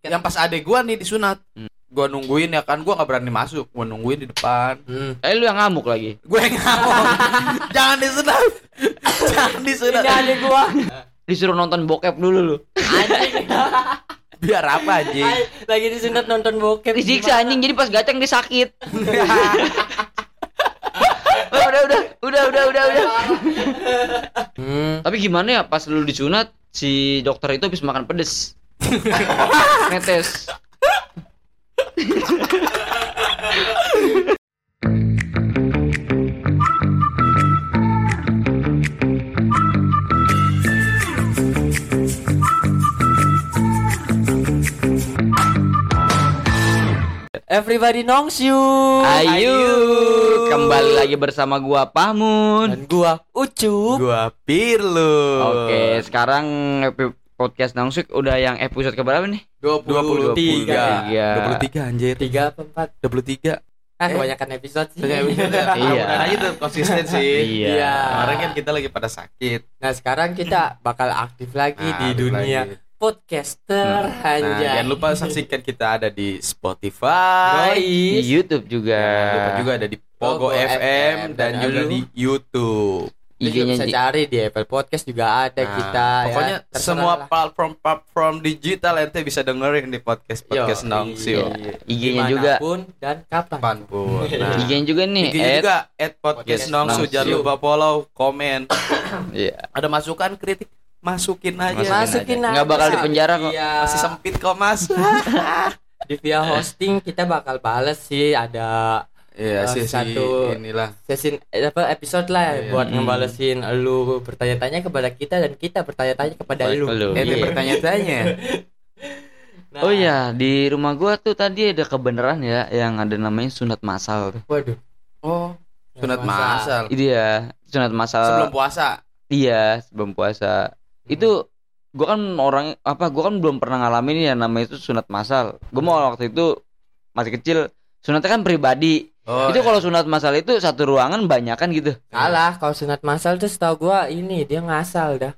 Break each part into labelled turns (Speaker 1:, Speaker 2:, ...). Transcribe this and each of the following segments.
Speaker 1: yang pas adek gua nih disunat gua nungguin ya kan gua nggak berani masuk gua nungguin di depan
Speaker 2: Hmm.
Speaker 3: Eh lu yang ngamuk lagi.
Speaker 1: gue yang ngomong jangan disunat jangan disunat
Speaker 4: Ini adik gua.
Speaker 3: Disuruh nonton bokep dulu lu.
Speaker 4: Anjing.
Speaker 1: biar apa anjing
Speaker 4: Lagi disunat nonton bokep.
Speaker 3: Disiksa anjing jadi pas gaceng dia sakit. Oh, udah udah udah udah udah udah.
Speaker 2: Hmm.
Speaker 3: Tapi gimana ya pas lu disunat si dokter itu habis makan pedes. Netes.
Speaker 4: Everybody knows you.
Speaker 3: Oh, Ayo kembali lagi bersama gua Pahmun.
Speaker 4: Dan gua Ucup.
Speaker 1: gua pirlo
Speaker 3: Oke, sekarang epi- podcast Nangsuk udah yang episode keberapa nih?
Speaker 1: dua puluh tiga
Speaker 3: Tiga.
Speaker 1: dua puluh tiga anjir
Speaker 4: Tiga apa empat?
Speaker 1: dua puluh tiga gitu.
Speaker 4: Ah,
Speaker 1: Eh.
Speaker 4: kebanyakan episode sih.
Speaker 3: Iya.
Speaker 1: mudah aja tuh gitu, konsisten sih
Speaker 4: Iya.
Speaker 1: kemarin kan kita lagi pada sakit
Speaker 4: Nah, sekarang kita bakal aktif lagi
Speaker 1: Nah,
Speaker 4: di
Speaker 1: aktif
Speaker 4: dunia
Speaker 1: lagi.
Speaker 4: podcaster
Speaker 1: Nah,
Speaker 4: anjay.
Speaker 1: jangan lupa saksikan kita ada di Spotify.
Speaker 3: Di
Speaker 4: Guys.
Speaker 3: YouTube
Speaker 1: Jangan lupa
Speaker 3: juga.
Speaker 1: juga ada di Pogo
Speaker 4: Eh, Pogo
Speaker 1: FM dan
Speaker 4: dan
Speaker 1: juga
Speaker 4: lu-
Speaker 1: di YouTube.
Speaker 4: Lu juga
Speaker 3: IG-nya
Speaker 4: bisa
Speaker 3: Ji.
Speaker 4: cari di Apple Podcast juga ada
Speaker 1: Nah,
Speaker 4: kita ya.
Speaker 1: pokoknya
Speaker 4: Terserah
Speaker 1: semua
Speaker 4: lah.
Speaker 1: platform-platform digital ente bisa dengerin di podcast podcast
Speaker 4: Yo,
Speaker 1: Nangsio
Speaker 4: iya.
Speaker 3: IG-nya juga.
Speaker 4: Dimanapun dan kapan. Iya.
Speaker 1: kapanpun. Nah,
Speaker 3: IG-nya juga nih.
Speaker 1: IG-nya
Speaker 3: at-
Speaker 1: juga at podcast
Speaker 4: Podcast
Speaker 1: Nongsu
Speaker 3: Nongsu.
Speaker 1: jangan lupa follow, komen.
Speaker 3: Iya.
Speaker 1: Ada masukan, kritik, masukin aja.
Speaker 4: Masukin. aja.
Speaker 3: Nggak bakal di penjara kok.
Speaker 4: Iya.
Speaker 1: Masih sempit kok, Mas.
Speaker 4: Di via hosting kita bakal bales sih ada
Speaker 1: Iya,
Speaker 4: Eh,
Speaker 1: sih
Speaker 4: satu-
Speaker 1: satu inilah.
Speaker 4: sesi eh, apa episode lah
Speaker 1: Iya.
Speaker 4: buat
Speaker 3: Hmm.
Speaker 4: ngebalesin lu bertanya-tanya kepada kita dan kita bertanya-tanya kepada
Speaker 3: Baik,
Speaker 4: lu.
Speaker 3: lu.
Speaker 1: Eh,
Speaker 4: Iya.
Speaker 1: bertanya-tanya.
Speaker 4: Nah,
Speaker 3: Oh iya, di rumah gua tuh tadi ada kebenaran ya yang ada namanya sunat masal. tuh.
Speaker 4: Nah, Waduh.
Speaker 1: Oh, sunat
Speaker 4: Masa.
Speaker 1: masal.
Speaker 3: Iya, sunat masal.
Speaker 1: Sebelum puasa.
Speaker 3: Iya, sebelum puasa.
Speaker 4: Hmm.
Speaker 3: Itu gua kan orang apa? Gua kan belum pernah ngalamin ya namanya itu sunat masal. Gua mau waktu itu masih kecil. Sunatnya kan pribadi.
Speaker 1: Oh, iya.
Speaker 3: itu kalau sunat masal itu satu ruangan banyakan gitu.
Speaker 4: Salah, kalau sunat masal tuh setahu gua ini dia ngasal dah.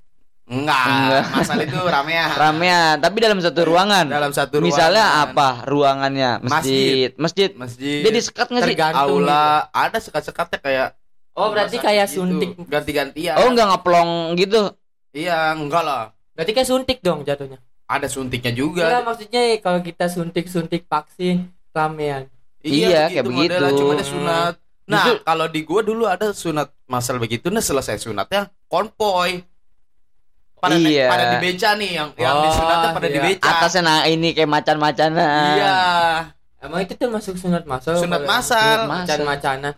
Speaker 1: Enggak,
Speaker 3: Enggak.
Speaker 1: masal itu ramean.
Speaker 3: Ramean, tapi dalam satu ruangan.
Speaker 1: Dalam satu ruangan.
Speaker 3: Misalnya apa ruangannya? Masjid. Masjid.
Speaker 1: Masjid. Iya.
Speaker 3: Dia gitu. disekat nggak sih?
Speaker 4: Tergantung.
Speaker 1: aula ada sekat-sekatnya kayak
Speaker 4: Oh, berarti
Speaker 1: rumah
Speaker 4: kayak
Speaker 1: sakit
Speaker 4: suntik.
Speaker 1: gitu. ganti-gantian.
Speaker 3: Oh nggak ngeplong gitu?
Speaker 1: Iya, enggak lah.
Speaker 4: Berarti kayak suntik dong jatuhnya.
Speaker 1: Ada suntiknya
Speaker 4: Enggak
Speaker 1: juga.
Speaker 4: maksudnya ya, kalau kita suntik-suntik vaksin ramean.
Speaker 3: Iya,
Speaker 1: gitu
Speaker 3: kayak
Speaker 1: modelnya,
Speaker 3: begitu.
Speaker 1: Cuma ada sunat. Nah,
Speaker 3: Justru-
Speaker 1: kalau di gua dulu ada sunat masal begitu, nah selesai sunatnya konvoy. Pada naik-
Speaker 3: Iya.
Speaker 1: pada di beca nih yang yang
Speaker 4: Oh,
Speaker 1: disunatnya pada di
Speaker 4: iya.
Speaker 1: beca.
Speaker 3: Atasnya nah ini kayak macan-macan. nah.
Speaker 1: Iya,
Speaker 4: Emang itu tuh masuk sunat masal?
Speaker 1: sunat
Speaker 4: kalau-
Speaker 1: masal.
Speaker 3: Sunat masal.
Speaker 4: Macan-macana.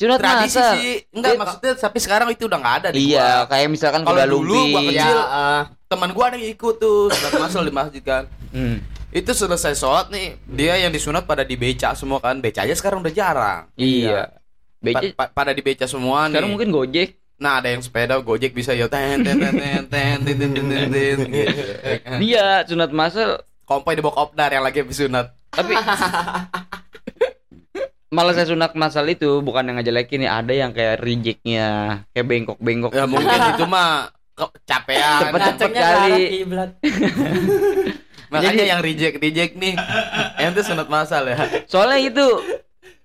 Speaker 3: Sunat
Speaker 1: Tradisi
Speaker 3: masal.
Speaker 1: sih, enggak
Speaker 3: Dia-
Speaker 1: maksudnya tapi sekarang itu udah enggak ada di gua.
Speaker 3: Iya, kayak misalkan
Speaker 1: Kalau
Speaker 3: kuda
Speaker 1: dulu
Speaker 3: lumping.
Speaker 1: gua
Speaker 4: Ya,
Speaker 1: Kecil.
Speaker 4: ah.
Speaker 1: teman gua ada yang ikut tuh sunat masal di masjid kan
Speaker 3: Hmm.
Speaker 1: itu selesai sholat nih dia yang disunat pada dibeca semua kan beca aja sekarang udah jarang
Speaker 3: Iya.
Speaker 1: Pa-
Speaker 3: Becik
Speaker 1: pa- pada dibeca semua nih
Speaker 3: sekarang mungkin Gojek.
Speaker 1: nah ada yang sepeda gojek bisa ya ten ten ten ten ten tin, tin, tin, tin, tin, gitu.
Speaker 3: Iya, sunat masal.
Speaker 1: kompoi di bawah kopdar yang lagi disunat
Speaker 3: Tapi malah saya sunat masal itu bukan yang ngejelekin ya, ada yang kayak rejeknya, kayak bengkok-bengkok.
Speaker 1: ya mungkin itu mah ke- capean
Speaker 3: Cepet-cepet.
Speaker 4: Kacangnya
Speaker 3: kali.
Speaker 4: ke arah eh, kiblat.
Speaker 1: makanya
Speaker 3: Jadi-
Speaker 1: yang reject reject nih ente sunat masal ya
Speaker 3: Soalnya itu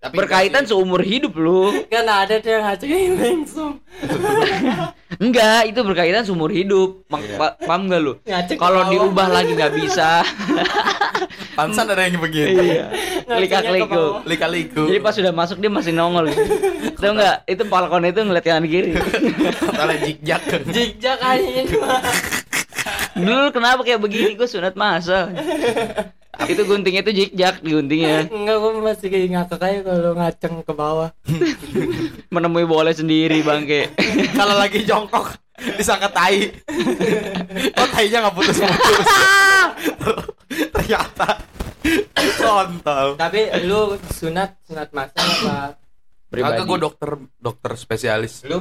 Speaker 1: Tapi
Speaker 3: berkaitan seumur hidup lu.
Speaker 4: Kan ada tuh yang kacangnya langsung.
Speaker 3: Enggak, itu berkaitan seumur hidup. Mak-
Speaker 1: Iya.
Speaker 3: pa- paham gak lu?
Speaker 4: Ngaceng
Speaker 3: Kalau
Speaker 4: ke
Speaker 3: diubah lagi nggak bisa.
Speaker 1: pansan ada yang begitu
Speaker 3: Iya. Lika-liku.
Speaker 1: lika liku
Speaker 3: Jadi pas sudah masuk dia masih nongol. Tahu nggak? Itu balkon itu ngeliat kanan kiri.
Speaker 1: salah jigjak
Speaker 4: Jigjak anjing.
Speaker 3: Dulu kenapa kayak begini? Gue sunat masal. itu guntingnya itu jikjak diguntingnya
Speaker 4: Enggak, gua masih kayak ngakak aja kalau ngaceng ke bawah.
Speaker 3: menemui bola sendiri bangke.
Speaker 1: kalau lagi jongkok disangka tai kok tainya nggak putus putus ternyata kontol
Speaker 4: Tapi lu sunat sunat masal apa?
Speaker 1: Kakak
Speaker 3: Pribadi.
Speaker 1: gue dokter dokter spesialis
Speaker 4: Lu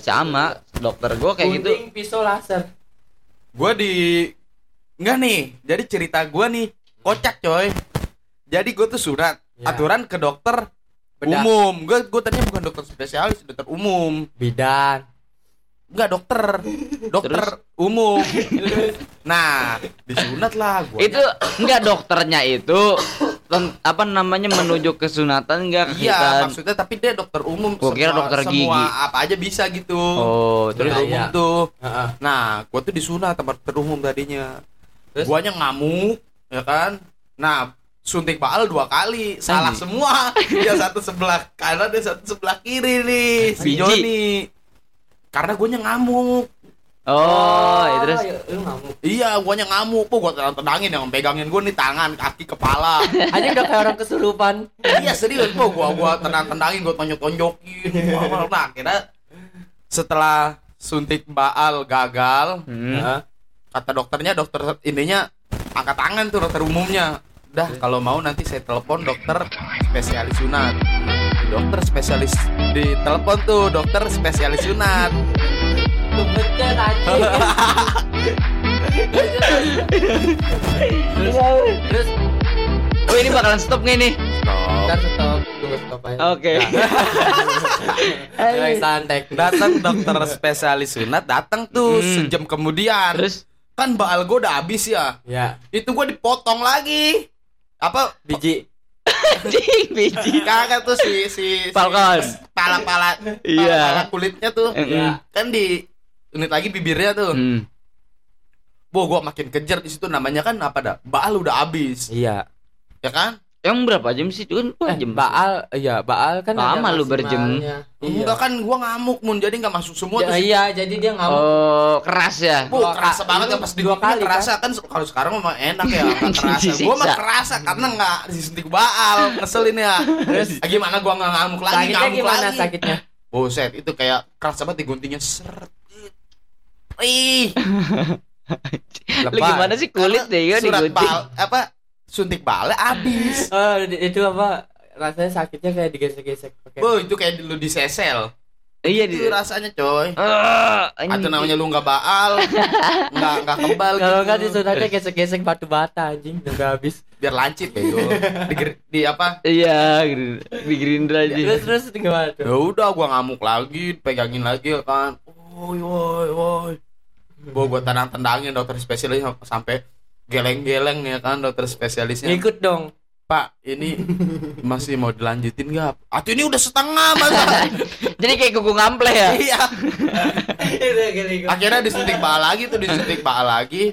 Speaker 3: sama dokter gue kayak gitu.
Speaker 4: Gunting pisau laser.
Speaker 1: gue di nggak nih jadi cerita gue nih kocak coy jadi gue tuh surat
Speaker 3: Iya.
Speaker 4: Ya.
Speaker 1: aturan ke dokter
Speaker 4: Bedah.
Speaker 1: umum gue gue tadinya bukan dokter spesialis dokter umum
Speaker 4: Bidan.
Speaker 1: Enggak dokter, dokter umum. Nah, disunat lah gua.
Speaker 3: itu enggak dokternya itu ten- apa namanya menuju kesunatan enggak
Speaker 1: Iya,
Speaker 3: kehitan
Speaker 1: maksudnya tapi dia dokter umum.
Speaker 3: Kan. Gua kira
Speaker 1: semua-
Speaker 3: dokter gigi.
Speaker 1: Semua apa aja bisa gitu. Dokter
Speaker 3: oh terus
Speaker 4: Iya,
Speaker 1: umum
Speaker 4: iya.
Speaker 1: tuh.
Speaker 4: Heeh.
Speaker 1: Nah, gua tuh disunat tempat dokter umum tadinya.
Speaker 4: Terus?
Speaker 1: Guanya ngamuk, ya kan? Nah, suntik baal dua kali, salah
Speaker 3: Anjing.
Speaker 1: semua. Dia satu sebelah kanan dan satu sebelah kiri nih, si
Speaker 3: Biji.
Speaker 1: Joni. Karena guanya ngamuk.
Speaker 3: oh ya terus
Speaker 4: ya, lu ngamuk.
Speaker 1: Iya, guanya ngamuk. Kok gua tendangin yang pegangin gua nih tangan, kaki, kepala.
Speaker 4: Ada udah kayak orang kesurupan.
Speaker 1: iya serius gua gua gua tenang tendangin gua tonjok tonjokin nah akhirnya setelah suntik baal gagal
Speaker 3: Hmm.
Speaker 4: Heeh.
Speaker 1: kata dokternya dokter ininya angkat tangan tuh dokter umumnya dah kalau mau nanti saya telepon dokter spesialis sunat dokter spesialis di telepon tuh dokter spesialis sunat
Speaker 4: Lu pencet anjing. terus, terus,
Speaker 3: oh ini bakalan stop nggak ini
Speaker 4: kan stop, tunggu stop aja.
Speaker 3: oke Eh, iya.
Speaker 4: Relax santai.
Speaker 1: datang dokter spesialis sunat datang tuh
Speaker 3: Hmm.
Speaker 1: sejam kemudian
Speaker 3: terus
Speaker 1: kan baal gua udah habis ya
Speaker 4: Ya,
Speaker 1: itu gua dipotong lagi apa
Speaker 4: biji.
Speaker 3: anjing biji
Speaker 1: Kagak tuh si si si
Speaker 3: Falcon.
Speaker 1: Pala-pala
Speaker 3: Iya.
Speaker 1: pala-pala kulitnya tuh.
Speaker 3: Mm-mm.
Speaker 1: Kan di unit lagi bibirnya tuh.
Speaker 3: Hmm.
Speaker 1: Wah, gua makin kejar di situ namanya kan apa dah? Baal udah habis.
Speaker 4: Iya.
Speaker 1: Ya kan?
Speaker 3: emang berapa jam sih itu kan dua
Speaker 4: Eh,
Speaker 3: jam
Speaker 4: Baal, iya, Baal kan
Speaker 3: Lama
Speaker 4: ada
Speaker 3: lu berjem.
Speaker 4: maksimalnya. Iya.
Speaker 1: Enggak kan gua ngamuk mun jadi nggak masuk semua
Speaker 4: Ya,
Speaker 1: tuh.
Speaker 4: iya, jadi dia ngamuk.
Speaker 3: oh keras ya
Speaker 1: Wah,
Speaker 4: Dua
Speaker 1: kerasa
Speaker 4: kali.
Speaker 1: banget ya pas di
Speaker 4: Dua kali,
Speaker 1: kerasa kan, kalau sekarang mah enak ya nggak kerasa. Gua mah
Speaker 3: Disiksa.
Speaker 1: kerasa karena nggak disuntik baal, ngeselin ya. Terus gimana gua nggak ngamuk lagi,
Speaker 4: sakitnya
Speaker 1: ngamuk
Speaker 4: gimana
Speaker 1: lagi.
Speaker 4: sakitnya?
Speaker 1: Buset, itu kayak kerasa banget diguntingnya seret. Ih.
Speaker 3: lu gimana sih kulit deh ya
Speaker 1: surat
Speaker 3: digunting
Speaker 1: bal apa suntik bala habis.
Speaker 4: Oh, di- itu apa? Rasanya sakitnya kayak digesek-gesek pakai.
Speaker 1: Bo itu kayak lu disesel.
Speaker 3: iya di
Speaker 1: Itu rasanya coy.
Speaker 3: Ah,
Speaker 1: Atau
Speaker 3: anjing.
Speaker 1: namanya lu nggak baal, nggak nggak kebal
Speaker 4: Kalau
Speaker 1: gitu.
Speaker 4: nggak disunatnya gesek-gesek batu bata anjing udah habis.
Speaker 1: Biar lancip ya Di, ger- di apa?
Speaker 3: Iya, geri- di
Speaker 1: Iya,
Speaker 3: Gerindra aja.
Speaker 4: Terus terus gimana tuh?
Speaker 1: Ya udah gua ngamuk lagi, pegangin lagi ya kan. Woi woi woi. Bo gua tendang-tendangin dokter spesialis sampai geleng-geleng ya kan dokter spesialisnya.
Speaker 4: Ngikut dong.
Speaker 1: Pak, ini masih mau dilanjutin nggak? Atau ini udah setengah masa?
Speaker 3: Jadi kayak kuku ngample ya.
Speaker 1: iya.
Speaker 4: Iya,
Speaker 1: Akhirnya disuntik bala lagi tuh disuntik bala lagi.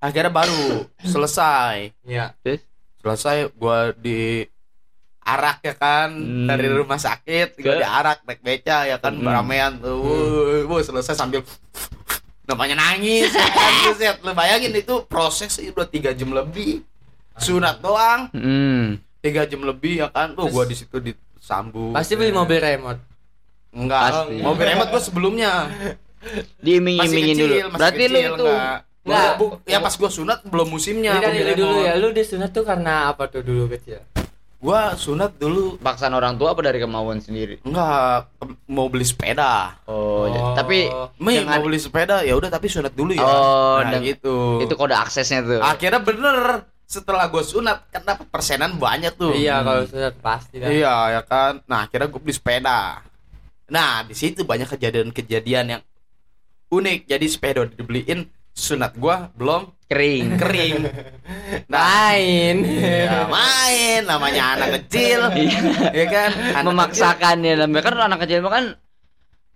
Speaker 1: Akhirnya baru selesai.
Speaker 4: Iya.
Speaker 1: Selesai gua di arak ya kan
Speaker 3: Hmm.
Speaker 1: dari rumah sakit gua
Speaker 3: Ke-
Speaker 1: diarak naik beca ya kan
Speaker 3: Hmm.
Speaker 1: beramean tuh. Wuh, wuh, selesai sambil namanya nangis ya kan Buset, lu bayangin itu proses udah tiga jam lebih sunat doang
Speaker 3: Hmm.
Speaker 1: tiga jam lebih ya kan tuh
Speaker 4: Terus-
Speaker 1: gua di situ disambut
Speaker 4: Pasti beli mobil remote.
Speaker 1: enggak
Speaker 3: Pasti.
Speaker 1: mobil remote gua sebelumnya
Speaker 3: Diiming-imingin dulu.
Speaker 1: masih
Speaker 3: Berarti lu
Speaker 1: kecil,
Speaker 3: itu
Speaker 1: enggak.
Speaker 4: Enggak.
Speaker 1: Bu, ya pas gua sunat belum musimnya.
Speaker 4: Ini dari
Speaker 1: mobil
Speaker 4: lu dulu
Speaker 1: remote.
Speaker 4: ya. Lu disunat tuh karena apa tuh dulu kecil?
Speaker 1: Gua sunat dulu
Speaker 3: paksaan orang tua apa dari kemauan sendiri?
Speaker 1: enggak ke- mau beli sepeda.
Speaker 3: Oh, ya. tapi
Speaker 1: Mei
Speaker 3: Dengan-
Speaker 1: mau beli sepeda ya udah tapi sunat dulu ya.
Speaker 3: Oh,
Speaker 1: nah,
Speaker 3: dengan-
Speaker 1: gitu.
Speaker 3: itu kode aksesnya tuh.
Speaker 1: Akhirnya bener setelah gua sunat kan dapat persenan banyak tuh. Hmm.
Speaker 4: Iya, kalau sunat pasti dah.
Speaker 1: Iya ya kan. Nah akhirnya gua beli sepeda. Nah di situ banyak kejadian-kejadian yang unik. Jadi sepeda udah dibeliin sunat gua belum Nah,
Speaker 3: Kering.
Speaker 1: kering.
Speaker 4: Lain.
Speaker 3: Iya.
Speaker 1: Ya,
Speaker 4: Iya.
Speaker 1: main namanya anak kecil ya kan Anak kecil.
Speaker 3: Memaksakan ya namanya kan anak kecil mah kan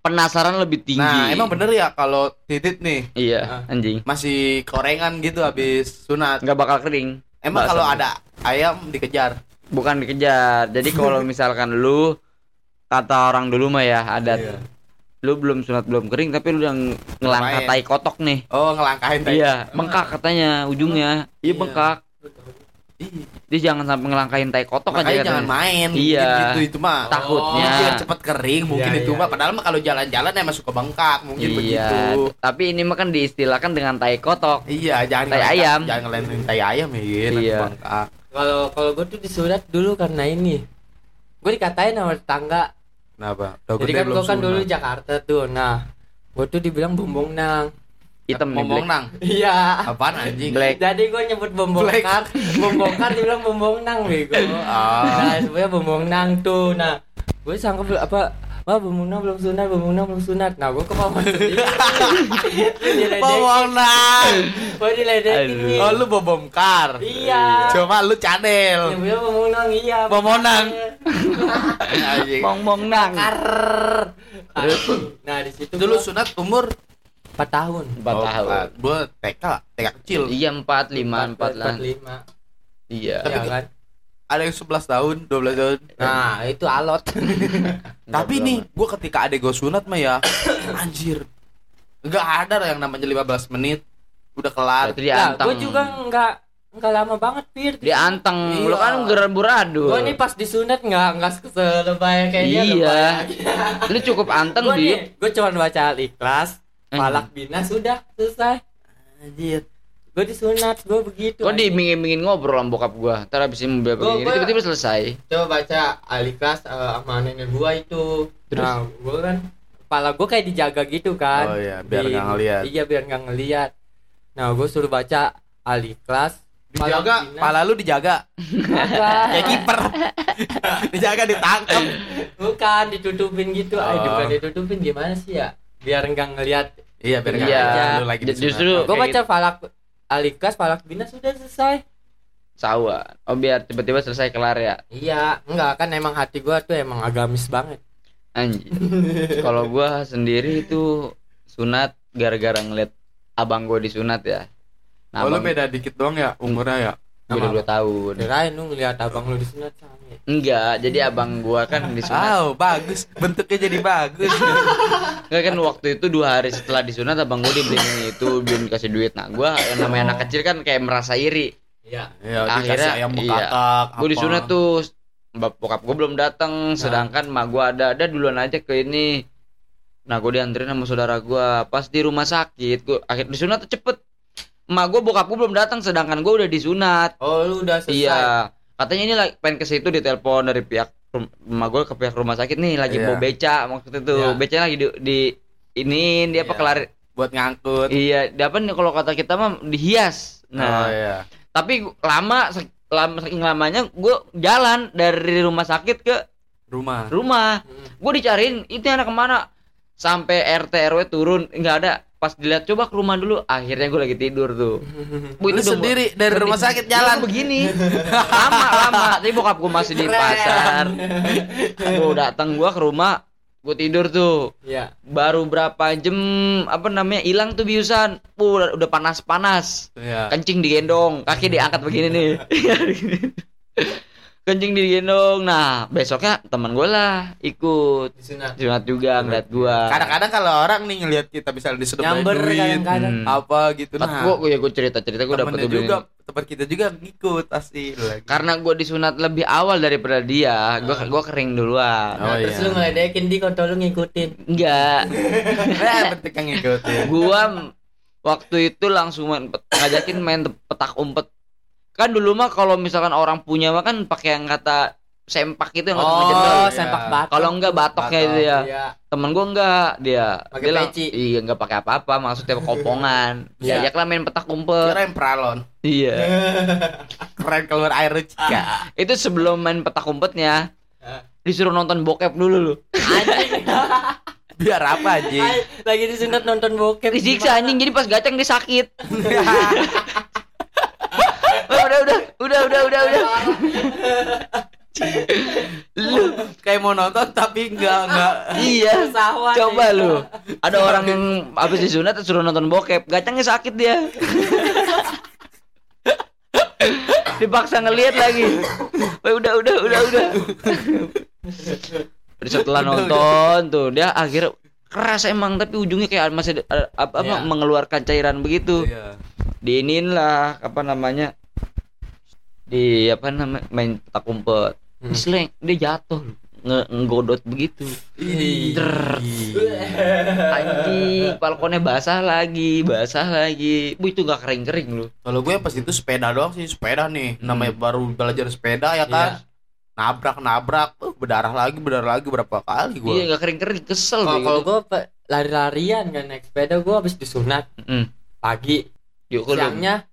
Speaker 3: penasaran lebih tinggi.
Speaker 1: nah emang bener Ah. ya kalau titit nih
Speaker 3: Iya, anjing.
Speaker 1: masih korengan gitu habis sunat
Speaker 3: Nggak bakal kering.
Speaker 1: emang
Speaker 3: Bahasa
Speaker 1: kalau
Speaker 3: lu.
Speaker 1: ada ayam dikejar
Speaker 3: bukan dikejar. Jadi kalau misalkan lu kata orang dulu mah ya adat. Lu belum sunat belum kering tapi lu yang ngelangkah
Speaker 1: Main.
Speaker 3: tai kotok nih.
Speaker 1: oh ngelangkahin tadi
Speaker 3: Iya, bengkak katanya ujungnya. Iya,
Speaker 1: Iya.
Speaker 3: bengkak. Dia jangan sampai ngelangkahin tai kotok aja
Speaker 1: makanya
Speaker 3: katanya.
Speaker 1: jangan main iya,
Speaker 3: Iya.
Speaker 1: gitu itu mah Oh,
Speaker 3: Takutnya.
Speaker 1: Biar cepet kering mungkin
Speaker 4: Iya,
Speaker 1: itu
Speaker 4: iya,
Speaker 1: mah
Speaker 4: iya.
Speaker 1: padahal mah kalau jalan-jalan emang suka bengkak mungkin
Speaker 3: iya,
Speaker 1: begitu
Speaker 3: tapi ini mah kan diistilahkan dengan tai kotok.
Speaker 1: iya jangan
Speaker 3: Tai
Speaker 1: ngelangkah-
Speaker 3: ayam.
Speaker 1: jangan ngelangkahin tai ayam ya nanti
Speaker 3: Iya.
Speaker 1: bengkak.
Speaker 4: Kalau kalau gue tuh disunat dulu karena ini. Gue dikatain sama tetangga.
Speaker 1: kenapa Udah Nah,
Speaker 4: Jadi
Speaker 1: gede
Speaker 4: kan
Speaker 1: belum
Speaker 4: gue kan
Speaker 1: sunat.
Speaker 4: dulu Jakarta tuh. Nah, gue tuh dibilang bumbung nang.
Speaker 3: Hitam nih,
Speaker 1: ngomong
Speaker 3: Black.
Speaker 1: nang
Speaker 4: Iya.
Speaker 1: apaan anjing
Speaker 3: Black.
Speaker 4: Jadi gue nyebut bombongkar, bombongkar dibilang bombongnang bego.
Speaker 1: Ah.
Speaker 4: Nah, sebenarnya bombongnang tuh. Nah, gue sangka apa Wah, Bumuna belum sunat, Bumuna belum sunat. Nah, gue ke Pawon sendiri. Lu diledekin,
Speaker 1: Pemenang.
Speaker 4: gue diledekin.
Speaker 3: Aduh.
Speaker 4: Wi.
Speaker 1: Oh lu bobongkar.
Speaker 4: Iya.
Speaker 1: Cuma lu cadel.
Speaker 4: Nyebutnya Bumuna, iya.
Speaker 1: Pemenang. Anjing.
Speaker 3: Mong mong nang.
Speaker 4: Karrrr. Nah, di situ
Speaker 1: Dulu
Speaker 4: gua
Speaker 1: sunat umur
Speaker 4: 4 tahun.
Speaker 2: Empat
Speaker 1: Oh,
Speaker 2: tahun.
Speaker 1: Gue TK, TK kecil.
Speaker 3: Iya empat lima empat lah.
Speaker 4: 45.
Speaker 3: Iya.
Speaker 1: Tapi
Speaker 4: Iya kan?
Speaker 1: Ada yang 11 tahun, 12 tahun.
Speaker 4: Nah, itu alot.
Speaker 3: Iya,
Speaker 1: Tapi nih, gue ketika adek gue sunat mah ya, anjir. Nggak ada lah yang namanya 15 menit udah kelar.
Speaker 3: Berarti dia
Speaker 4: Nah,
Speaker 3: anteng.
Speaker 4: gue juga nggak nggak lama banget, Pir.
Speaker 3: Dia anteng. Lu
Speaker 4: Iya.
Speaker 3: kan gerabur adu.
Speaker 4: Gue nih pas disunat nggak nggak selebay kayak dia.
Speaker 3: Iya. Lu cukup anteng
Speaker 4: Gue
Speaker 3: di.
Speaker 4: nih, gue cuma baca ikhlas,
Speaker 3: Hmm.
Speaker 4: palak bina sudah selesai. Anjir. Gue disunat, gue begitu.
Speaker 3: Kok
Speaker 4: anjir.
Speaker 3: diiming-imingin ngobrol sama bokap gua. Ntar abis ini mobil
Speaker 4: Gua-
Speaker 3: begini
Speaker 4: gua-
Speaker 3: tiba-tiba selesai.
Speaker 4: Coba baca aliklas eh, sama nenek gua itu.
Speaker 3: Terus?
Speaker 4: Nah, gua kan kepala gua kayak dijaga gitu kan.
Speaker 1: Oh iya, biar
Speaker 4: Di-
Speaker 1: nggak ngeliat.
Speaker 4: Iya, biar nggak ngeliat. Nah, gua suruh baca aliklas
Speaker 1: Dijaga, pala lu dijaga. Kayak gitu kiper. dijaga ditangkap.
Speaker 4: Bukan ditutupin gitu. Ay,
Speaker 1: Oh.
Speaker 4: bukan ditutupin gimana sih ya? Biar nggak ngeliat. gitu.
Speaker 1: Iya, biar nggak
Speaker 3: Iya.
Speaker 1: ngeliat lu lagi
Speaker 3: Ju-
Speaker 1: disunat. Nah,
Speaker 3: justru-
Speaker 1: Oke.
Speaker 4: Gua
Speaker 3: Kayak
Speaker 4: baca falak aliklas, falak bina sudah selesai.
Speaker 3: Sawa. Oh biar tiba-tiba selesai kelar ya.
Speaker 4: Iya, enggak kan emang hati gua tuh emang agamis banget.
Speaker 3: Anjir. Kalau gua sendiri itu sunat gara-gara ngeliat abang gua disunat ya.
Speaker 1: oh, lu
Speaker 3: abang
Speaker 1: beda dikit doang ya umurnya ya.
Speaker 3: gua udah
Speaker 4: Sama
Speaker 3: dua tahun.
Speaker 4: Kirain lu ngeliat abang lu disunat sama.
Speaker 3: Enggak, jadi abang gua kan disunat.
Speaker 1: Wow, bagus. Bentuknya jadi bagus.
Speaker 3: Enggak kan waktu itu dua hari setelah disunat abang gua dibeliin itu, belum dikasih duit. Nah, gua yang namanya anak kecil kan kayak merasa iri.
Speaker 4: Iya.
Speaker 1: ya,
Speaker 3: Akhirnya,
Speaker 1: ayam
Speaker 3: iya.
Speaker 1: bekatak.
Speaker 3: Gua
Speaker 1: apa. Nah.
Speaker 3: disunat tuh bap- bokap gua belum datang, sedangkan emak gua ada. Ada duluan aja ke ini. Nah, gua dianterin sama saudara gua pas di rumah sakit. Gua akhir disunat tuh cepet. Emak gua bokap gua belum datang sedangkan gua udah disunat.
Speaker 4: Oh, lu udah selesai.
Speaker 3: Iya. Katanya ini lagi pengen ke situ ditelepon dari pihak rum- rumah gue ke pihak rumah sakit nih lagi
Speaker 1: Iya.
Speaker 3: mau beca maksudnya tuh.
Speaker 4: Iya.
Speaker 3: Becanya lagi di, di iniin dia apa
Speaker 1: Iya.
Speaker 3: kelar.
Speaker 1: buat ngangkut.
Speaker 3: Iya, dia apa nih kalau kata kita mah dihias.
Speaker 1: Oh
Speaker 3: Nah,
Speaker 1: iya.
Speaker 3: tapi gu- lama sak- lama saking lamanya gue jalan dari rumah sakit ke
Speaker 1: Rumah.
Speaker 3: rumah.
Speaker 4: Hmm.
Speaker 3: Gue dicariin itu anak kemana sampai RT RW turun nggak ada. Pas dilihat coba ke rumah dulu, akhirnya gue lagi tidur tuh.
Speaker 1: Lu
Speaker 3: Bu, itu udah-
Speaker 1: sendiri dari rumah sakit jalan.
Speaker 3: Gua begini lama lama tapi bokap gue masih di pasar gue datang gue ke rumah gue tidur tuh
Speaker 4: Iya.
Speaker 3: baru berapa jam apa namanya hilang tuh biusan Uh, udah, udah panas panas
Speaker 1: Iya.
Speaker 3: kencing digendong kaki diangkat begini nih kencing digendong nah besoknya teman gue lah ikut
Speaker 4: Disunat.
Speaker 3: sunat juga ngeliat gue
Speaker 1: Kadang-kadang kalau orang nih ngelihat kita bisa disedot
Speaker 4: Nyamber
Speaker 1: duit
Speaker 4: kadang-kadang.
Speaker 3: Hmm.
Speaker 1: apa gitu nah.
Speaker 3: gue ya gue cerita cerita gue dapet
Speaker 1: temennya
Speaker 3: tuh
Speaker 1: juga tempat kita juga ngikut pasti lagi.
Speaker 3: karena gue disunat lebih awal daripada dia gue gua kering duluan
Speaker 4: Nah,
Speaker 1: Ah. Oh,
Speaker 4: terus
Speaker 1: iya.
Speaker 4: lu ngeledekin di kontol lu ngikutin.
Speaker 3: enggak
Speaker 1: nah, bentuk yang ngikutin.
Speaker 3: gua m- waktu itu langsung main pet- ngajakin main te- petak umpet kan dulu mah kalau misalkan orang punya mah kan pakai yang kata sempak itu yang kata ngejendol.
Speaker 4: Oh,
Speaker 1: iya.
Speaker 4: sempak batu.
Speaker 3: kalau enggak batoknya
Speaker 1: Batok,
Speaker 3: itu ya
Speaker 4: Iya.
Speaker 3: temen gua enggak dia
Speaker 4: Pakai
Speaker 3: dia lang-
Speaker 4: peci.
Speaker 3: iya enggak pakai apa-apa maksudnya kopongan
Speaker 4: Iya.
Speaker 3: diajaklah main petak umpet
Speaker 1: Keren pralon.
Speaker 3: iya
Speaker 1: Keren keluar air juga.
Speaker 3: itu sebelum main petak umpetnya
Speaker 4: Iya.
Speaker 3: disuruh nonton bokep dulu lu
Speaker 4: Anjing.
Speaker 1: Biar apa aja.
Speaker 4: Ay, Lagi disunat nonton bokep.
Speaker 3: disiksa anjing jadi pas gacang dia sakit Oh, udah udah udah udah udah udah lu
Speaker 1: Kayak mau nonton tapi enggak enggak.
Speaker 3: iya
Speaker 4: Kesawan,
Speaker 3: coba
Speaker 4: iya.
Speaker 3: lu ada orang yang habis disunat terus suruh nonton bokep gacangnya sakit dia dipaksa ngelihat lagi Weh, udah udah udah udah Terus setelah nonton tuh dia akhirnya keras emang tapi ujungnya kayak masih ada- ada- apa, apa,
Speaker 4: Iya.
Speaker 3: mengeluarkan cairan begitu
Speaker 1: Iya.
Speaker 3: diinin lah apa namanya di apa namanya main petak umpet diseleng dia jatuh nge nggodot begitu
Speaker 1: Iya.
Speaker 4: Ih.
Speaker 3: Der. anjing balkonnya basah lagi basah lagi bu itu nggak kering kering lu
Speaker 1: Kalau gue pas itu sepeda doang sih, sepeda nih.
Speaker 3: Hmm.
Speaker 1: Namanya baru belajar sepeda
Speaker 3: Iya.
Speaker 1: ya kan. Nabrak-nabrak, uh, berdarah lagi, berdarah lagi berapa kali gue.
Speaker 3: iya nggak kering kering kesel
Speaker 4: Kalau
Speaker 3: deh
Speaker 4: kalau
Speaker 3: gitu.
Speaker 4: gua pe- lari-larian kan naik sepeda gua habis disunat
Speaker 3: Mm.
Speaker 4: pagi.
Speaker 3: yuk kulum
Speaker 4: Siangnya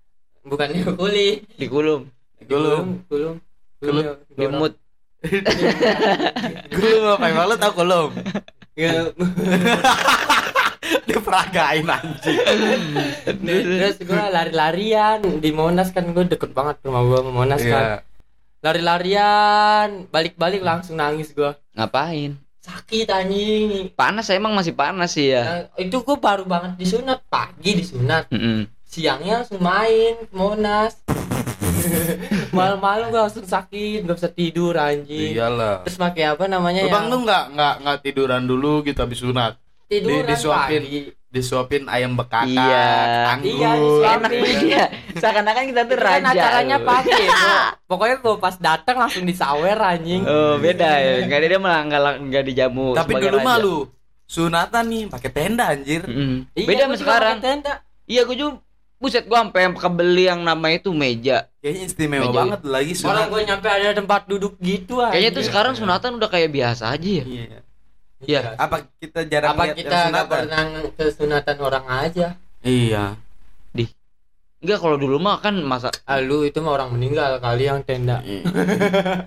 Speaker 4: bukan diukuli.
Speaker 1: Gitu
Speaker 4: Iya,
Speaker 3: dikulum
Speaker 1: Gulung.
Speaker 4: Kulum.
Speaker 3: dimut Iya.
Speaker 4: kan.
Speaker 1: Gue ngapain Gitu malu tau belum? Diperagain anjing.
Speaker 4: Terus gue lari-larian di Monas kan gue deket banget rumah gue sama Monas kan.
Speaker 2: Iya.
Speaker 4: Lari-larian, balik-balik langsung nangis gue.
Speaker 3: Ngapain?
Speaker 4: Sakit anjing.
Speaker 3: Panas emang masih panas sih
Speaker 1: Iya.
Speaker 3: ya.
Speaker 4: Nah, itu gue baru banget disunat pagi disunat
Speaker 3: Mm-mm.
Speaker 4: siangnya langsung main ke Monas malam-malam gue langsung sakit gak bisa tidur anjing
Speaker 1: Iya, Iyalah.
Speaker 4: terus pakai apa
Speaker 3: Iya.
Speaker 4: namanya
Speaker 1: Lu
Speaker 4: yang
Speaker 1: bang lu nggak nggak nggak tiduran dulu gitu habis sunat?
Speaker 4: tiduran
Speaker 1: di- disuapin.
Speaker 4: pagi.
Speaker 1: Disuapin ayam bekakak,
Speaker 3: Iya.
Speaker 1: anggur.
Speaker 4: Iya, disuapin.
Speaker 3: Enak dia.
Speaker 4: Iya,
Speaker 3: Seakan-akan kita tuh
Speaker 4: Itu kan
Speaker 3: raja.
Speaker 4: acaranya
Speaker 3: loh.
Speaker 4: pagi gua- pokoknya gue pas datang langsung disawer anjing
Speaker 3: Oh, beda ya. Enggak ada dia malah enggak enggak dijamu
Speaker 1: Tapi
Speaker 3: sebagai
Speaker 1: dulu
Speaker 3: raja. Hmm.
Speaker 1: malu. Sunatan nih pakai tenda anjir.
Speaker 3: Mm-mm.
Speaker 4: Iya,
Speaker 3: Beda
Speaker 4: gua
Speaker 3: sama
Speaker 4: juga
Speaker 3: sekarang.
Speaker 4: pakai tenda.
Speaker 3: Iya, gue juga buset gua sampai yang kebeli yang nama itu meja.
Speaker 1: Kayaknya istimewa
Speaker 3: Meja-
Speaker 1: banget lagi
Speaker 4: orang
Speaker 1: sunat.
Speaker 4: gue nyampe ada tempat duduk gitu anjing.
Speaker 3: Kayaknya tuh sekarang sunatan udah kayak biasa aja ya.
Speaker 1: Iya.
Speaker 3: Iya.
Speaker 1: Apa kita jarang
Speaker 4: apa
Speaker 1: lihat yang
Speaker 4: kita nggak
Speaker 1: sunatan?
Speaker 4: pernah ke sunatan orang aja
Speaker 1: Iya.
Speaker 3: Enggak kalau dulu mah kan masa
Speaker 4: ah, lu itu mah orang meninggal kali yang tenda
Speaker 1: Iya.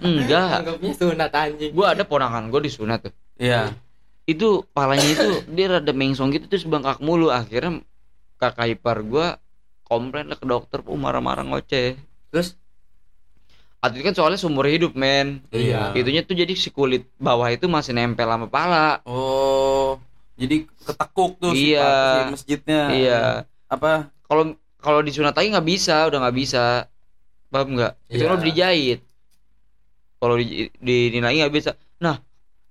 Speaker 3: enggak.
Speaker 4: anggapnya sunat anjing
Speaker 3: Gua ada ponakan gua disunat tuh.
Speaker 1: Iya.
Speaker 3: Itu palanya itu dia rada mengsong gitu terus bengkak mulu akhirnya kakak ipar gua komplain lah ke dokter "Pu, marah-marah ngoceh.
Speaker 4: terus
Speaker 3: Atlet kan soalnya seumur hidup men
Speaker 1: Iya.
Speaker 3: Itunya tuh jadi si kulit bawah itu masih nempel sama pala
Speaker 1: Oh. Jadi ketekuk tuh si
Speaker 3: Iya.
Speaker 1: pa- si masjidnya.
Speaker 3: Iya
Speaker 1: Apa?
Speaker 3: Kalau kalau disunat lagi nggak bisa udah nggak bisa Paham nggak? Itu
Speaker 4: Iya.
Speaker 3: lo dijahit Kalau di, dinilai nggak bisa Nah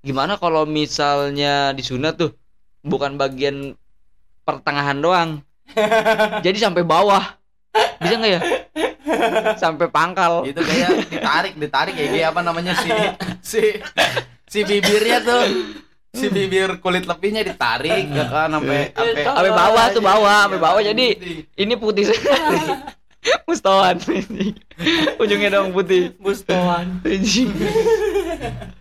Speaker 3: gimana kalau misalnya disunat tuh Bukan bagian pertengahan doang Jadi sampai bawah Bisa nggak ya? Sampai pangkal
Speaker 1: Itu kayak ditarik, ditarik ya, kayak gini, apa namanya si si si bibirnya tuh si bibir kulit lebihnya ditarik ya kan sampai sampai
Speaker 3: Sampai bawah tuh bawah
Speaker 1: Iya.
Speaker 3: Sampai bawah jadi Ini putih sekali. Mustawan. Ujungnya dong putih.
Speaker 4: bustoan
Speaker 3: Anjing.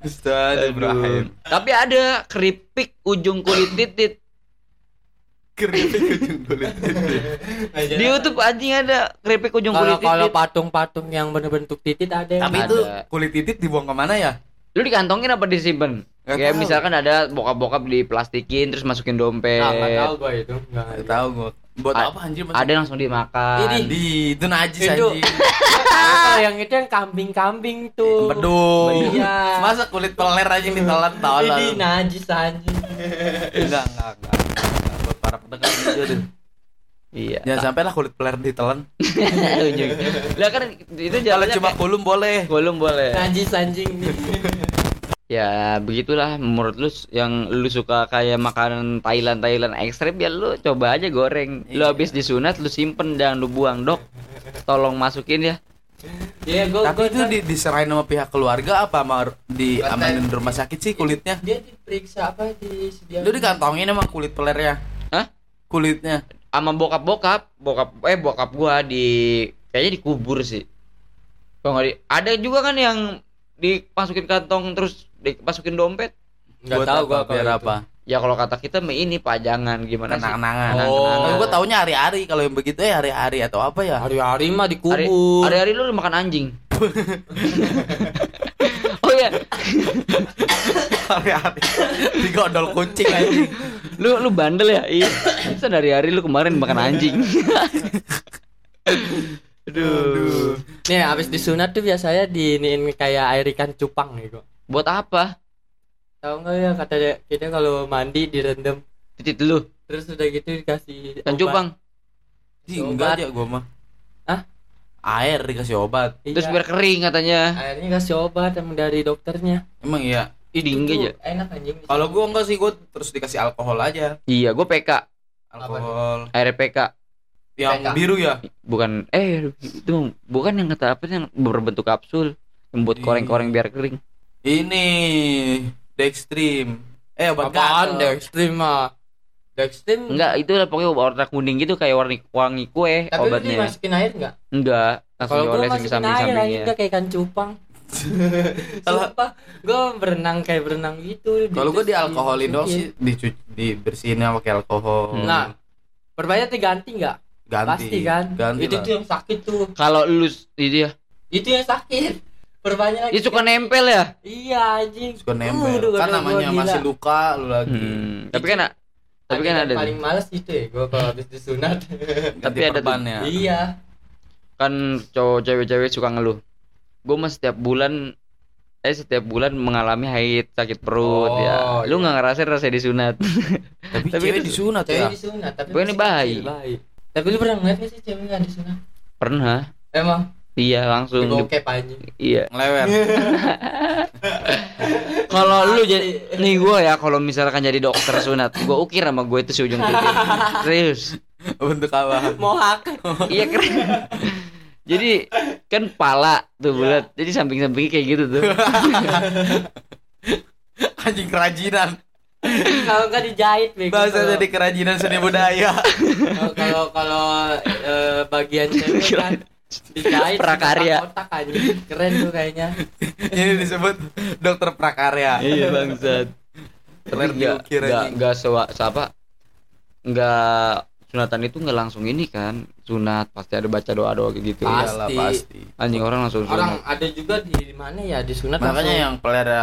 Speaker 1: Ustaz Ibrahim
Speaker 3: Tapi ada keripik ujung kulit titit.
Speaker 1: keripik ujung kulit
Speaker 3: Di YouTube anjing ada keripik ujung
Speaker 4: kalau
Speaker 3: kulit
Speaker 4: kalau
Speaker 3: titit.
Speaker 4: patung-patung yang berbentuk titik ada yang
Speaker 1: tapi
Speaker 3: Ada.
Speaker 1: itu kulit titit dibuang kemana ya
Speaker 3: Lu dikantongin apa disimpan?
Speaker 1: Nggak
Speaker 3: Kayak
Speaker 1: Ya, tahu.
Speaker 3: misalkan ada bokap-bokap diplastikin terus masukin dompet.
Speaker 4: Ah, nggak tahu gua itu nggak
Speaker 1: Nggak tahu gua buat
Speaker 3: A-
Speaker 1: apa anjir
Speaker 3: Ada yang langsung dimakan.
Speaker 1: di itu najis
Speaker 4: Itu.
Speaker 1: anjing
Speaker 4: Kalau yang itu yang kambing-kambing tuh.
Speaker 1: bedung
Speaker 4: Iya.
Speaker 1: masa kulit peler aja ditelan tolol
Speaker 4: Ini najis anjing.
Speaker 1: enggak enggak enggak Enggak, buat para pendengar aja deh
Speaker 3: Iya.
Speaker 1: jangan sampai lah Ya, kulit peler ditelan
Speaker 3: Ujung. Lah kan itu
Speaker 1: kalau
Speaker 3: jalannya
Speaker 1: cuma
Speaker 3: cuma
Speaker 1: kulum boleh
Speaker 3: belum boleh.
Speaker 4: Najis anjing nih.
Speaker 3: Ya begitulah menurut lu s- yang lu suka kayak makanan Thailand Thailand ekstrem ya lu coba aja goreng. Lu
Speaker 1: Iya.
Speaker 3: habis disunat lu simpen jangan lu buang dok. Tolong masukin ya.
Speaker 4: Iya, gua
Speaker 1: tapi
Speaker 4: gua
Speaker 1: itu
Speaker 4: ntar-
Speaker 1: di, diserahin sama pihak keluarga apa sama di amanin rumah sakit sih kulitnya
Speaker 4: dia diperiksa apa di sedia.
Speaker 1: lu dikantongin emang kulit pelernya
Speaker 3: Hah?
Speaker 1: kulitnya
Speaker 3: Sama bokap bokap bokap eh bokap gua di kayaknya dikubur sih. Kalau nggak di- ada juga kan yang dimasukin kantong terus dimasukin dompet.
Speaker 4: Nggak
Speaker 1: Buat
Speaker 4: tahu
Speaker 1: apa,
Speaker 4: gua kalau
Speaker 1: biar
Speaker 4: itu.
Speaker 1: apa
Speaker 3: Ya kalau kata kita mah ini pajangan gimana sih?
Speaker 1: kenang-kenangan
Speaker 4: Oh.
Speaker 1: Kalau gue taunya hari-hari kalau yang begitu ya hari-hari atau apa ya
Speaker 4: Hari-hari mah
Speaker 3: Hari-
Speaker 4: dikubur.
Speaker 3: Hari-hari lu makan anjing. oh iya,
Speaker 1: hari-hari digondol kucing anjing
Speaker 3: lu lu bandel ya iya bisa dari hari lu kemarin makan anjing aduh
Speaker 4: Nih, habis disunat tuh biasanya diinin kayak air ikan cupang gitu.
Speaker 3: buat apa
Speaker 4: Tahu nggak ya kata dia, kita kalau mandi direndam
Speaker 3: titit lu
Speaker 4: terus udah gitu dikasih
Speaker 3: kan
Speaker 4: obat.
Speaker 3: cupang
Speaker 1: Ih, enggak aja gue mah
Speaker 4: Hah?
Speaker 1: air dikasih obat
Speaker 4: Iya.
Speaker 3: terus biar kering katanya
Speaker 4: airnya kasih obat emang dari dokternya.
Speaker 1: emang iya
Speaker 3: ih dingin aja
Speaker 4: Tuh, Enak anjing.
Speaker 1: kalau gue enggak sih gue terus dikasih alkohol aja
Speaker 3: iya gue PK
Speaker 1: alkohol
Speaker 3: air PK
Speaker 1: yang
Speaker 4: Pegang.
Speaker 1: biru ya
Speaker 3: bukan eh itu bukan yang kata apa sih, yang berbentuk kapsul yang buat
Speaker 1: Iya.
Speaker 3: koreng-koreng biar kering
Speaker 1: ini dextrim eh obat
Speaker 4: Apaan
Speaker 1: gatel.
Speaker 4: Dextrim mah? Dextrim
Speaker 3: enggak itu lah pokoknya warna kuning gitu kayak warna wangi kue
Speaker 4: Tapi lu
Speaker 3: obatnya
Speaker 4: dimasukin air enggak?
Speaker 3: enggak langsung
Speaker 1: Iya,
Speaker 4: Kalau gua
Speaker 3: diolesin ke
Speaker 4: masukin air aja
Speaker 3: samping-sampingnya
Speaker 4: udah kayak ikan cupang.
Speaker 1: Kalau-
Speaker 4: Sumpah, gua berenang kayak berenang gitu.
Speaker 1: kalau gue
Speaker 4: Terus
Speaker 1: dialkoholin doang
Speaker 4: dimasukin.
Speaker 1: sih dicuci dibersihinnya pakai alkohol
Speaker 3: Hmm.
Speaker 4: Nah, perbanyak ganti enggak?
Speaker 1: ganti
Speaker 4: Pasti kan.
Speaker 1: ganti
Speaker 4: itu
Speaker 1: lah.
Speaker 4: tuh yang sakit tuh.
Speaker 3: kalau lu itu ya
Speaker 4: Itu yang sakit. Perbanyak lagi.
Speaker 3: Dia suka nempel ya.
Speaker 4: Iya anjing.
Speaker 1: suka nempel
Speaker 4: Aduh,
Speaker 1: kan
Speaker 4: aduh,
Speaker 1: namanya
Speaker 4: gua gila.
Speaker 1: masih luka lu lagi
Speaker 3: Tapi kan a- tapi kan
Speaker 4: Anjing
Speaker 3: ada
Speaker 4: yang Iya. paling males itu ya gua kalau habis disunat.
Speaker 1: ganti
Speaker 3: Tapi ada
Speaker 1: perban ya
Speaker 4: iya.
Speaker 3: kan cowok cewek-cewek suka ngeluh. Gue mah setiap bulan eh setiap bulan mengalami haid sakit perut
Speaker 4: Oh,
Speaker 3: ya. Lu
Speaker 4: iya.
Speaker 3: nggak ngerasain rasanya disunat.
Speaker 1: tapi,
Speaker 3: Tapi
Speaker 1: cewek
Speaker 3: itu-
Speaker 1: disunat ya
Speaker 4: Cewek disunat tapi
Speaker 3: Gua ini
Speaker 4: masih
Speaker 3: bayi.
Speaker 4: kecil, bayi. Tapi lu pernah ngeliat gak sih cewek nggak disunat?
Speaker 3: Pernah.
Speaker 4: Emang
Speaker 3: Iya langsung.
Speaker 4: Di
Speaker 3: di-
Speaker 4: bokep anjing.
Speaker 3: Iya.
Speaker 1: ngelewer
Speaker 3: Kalau lu jadi
Speaker 4: Asli.
Speaker 3: nih gue ya kalau misalkan jadi dokter sunat, gue ukir sama gue itu si ujung titik. Serius.
Speaker 1: untuk apa
Speaker 4: Mohak.
Speaker 3: Iya keren. Jadi kan pala tuh bulat. Jadi samping-sampingnya kayak gitu tuh.
Speaker 1: anjing kerajinan
Speaker 4: Kalau nggak dijahit bego.
Speaker 1: bahasa
Speaker 4: Kalau-
Speaker 1: jadi kerajinan seni budaya
Speaker 4: Kalau- kalau kalau eh, bagian cewek kan dijahit
Speaker 3: Prakarya.
Speaker 4: kotak anjing. Keren tuh kayaknya.
Speaker 1: ini disebut dokter prakarya
Speaker 3: iya bangsat. Tapi
Speaker 1: Keren
Speaker 3: nggak
Speaker 1: diukir
Speaker 3: nggak
Speaker 1: anjing.
Speaker 3: nggak sewa apa nggak sunatan itu nggak langsung ini kan sunat pasti ada baca doa doa gitu
Speaker 4: Pasti.
Speaker 1: Iyalah, pasti
Speaker 3: anjing orang langsung
Speaker 4: Orang
Speaker 3: sunat
Speaker 4: ada juga di mana ya disunat
Speaker 1: makanya
Speaker 4: langsung.
Speaker 1: yang pelihara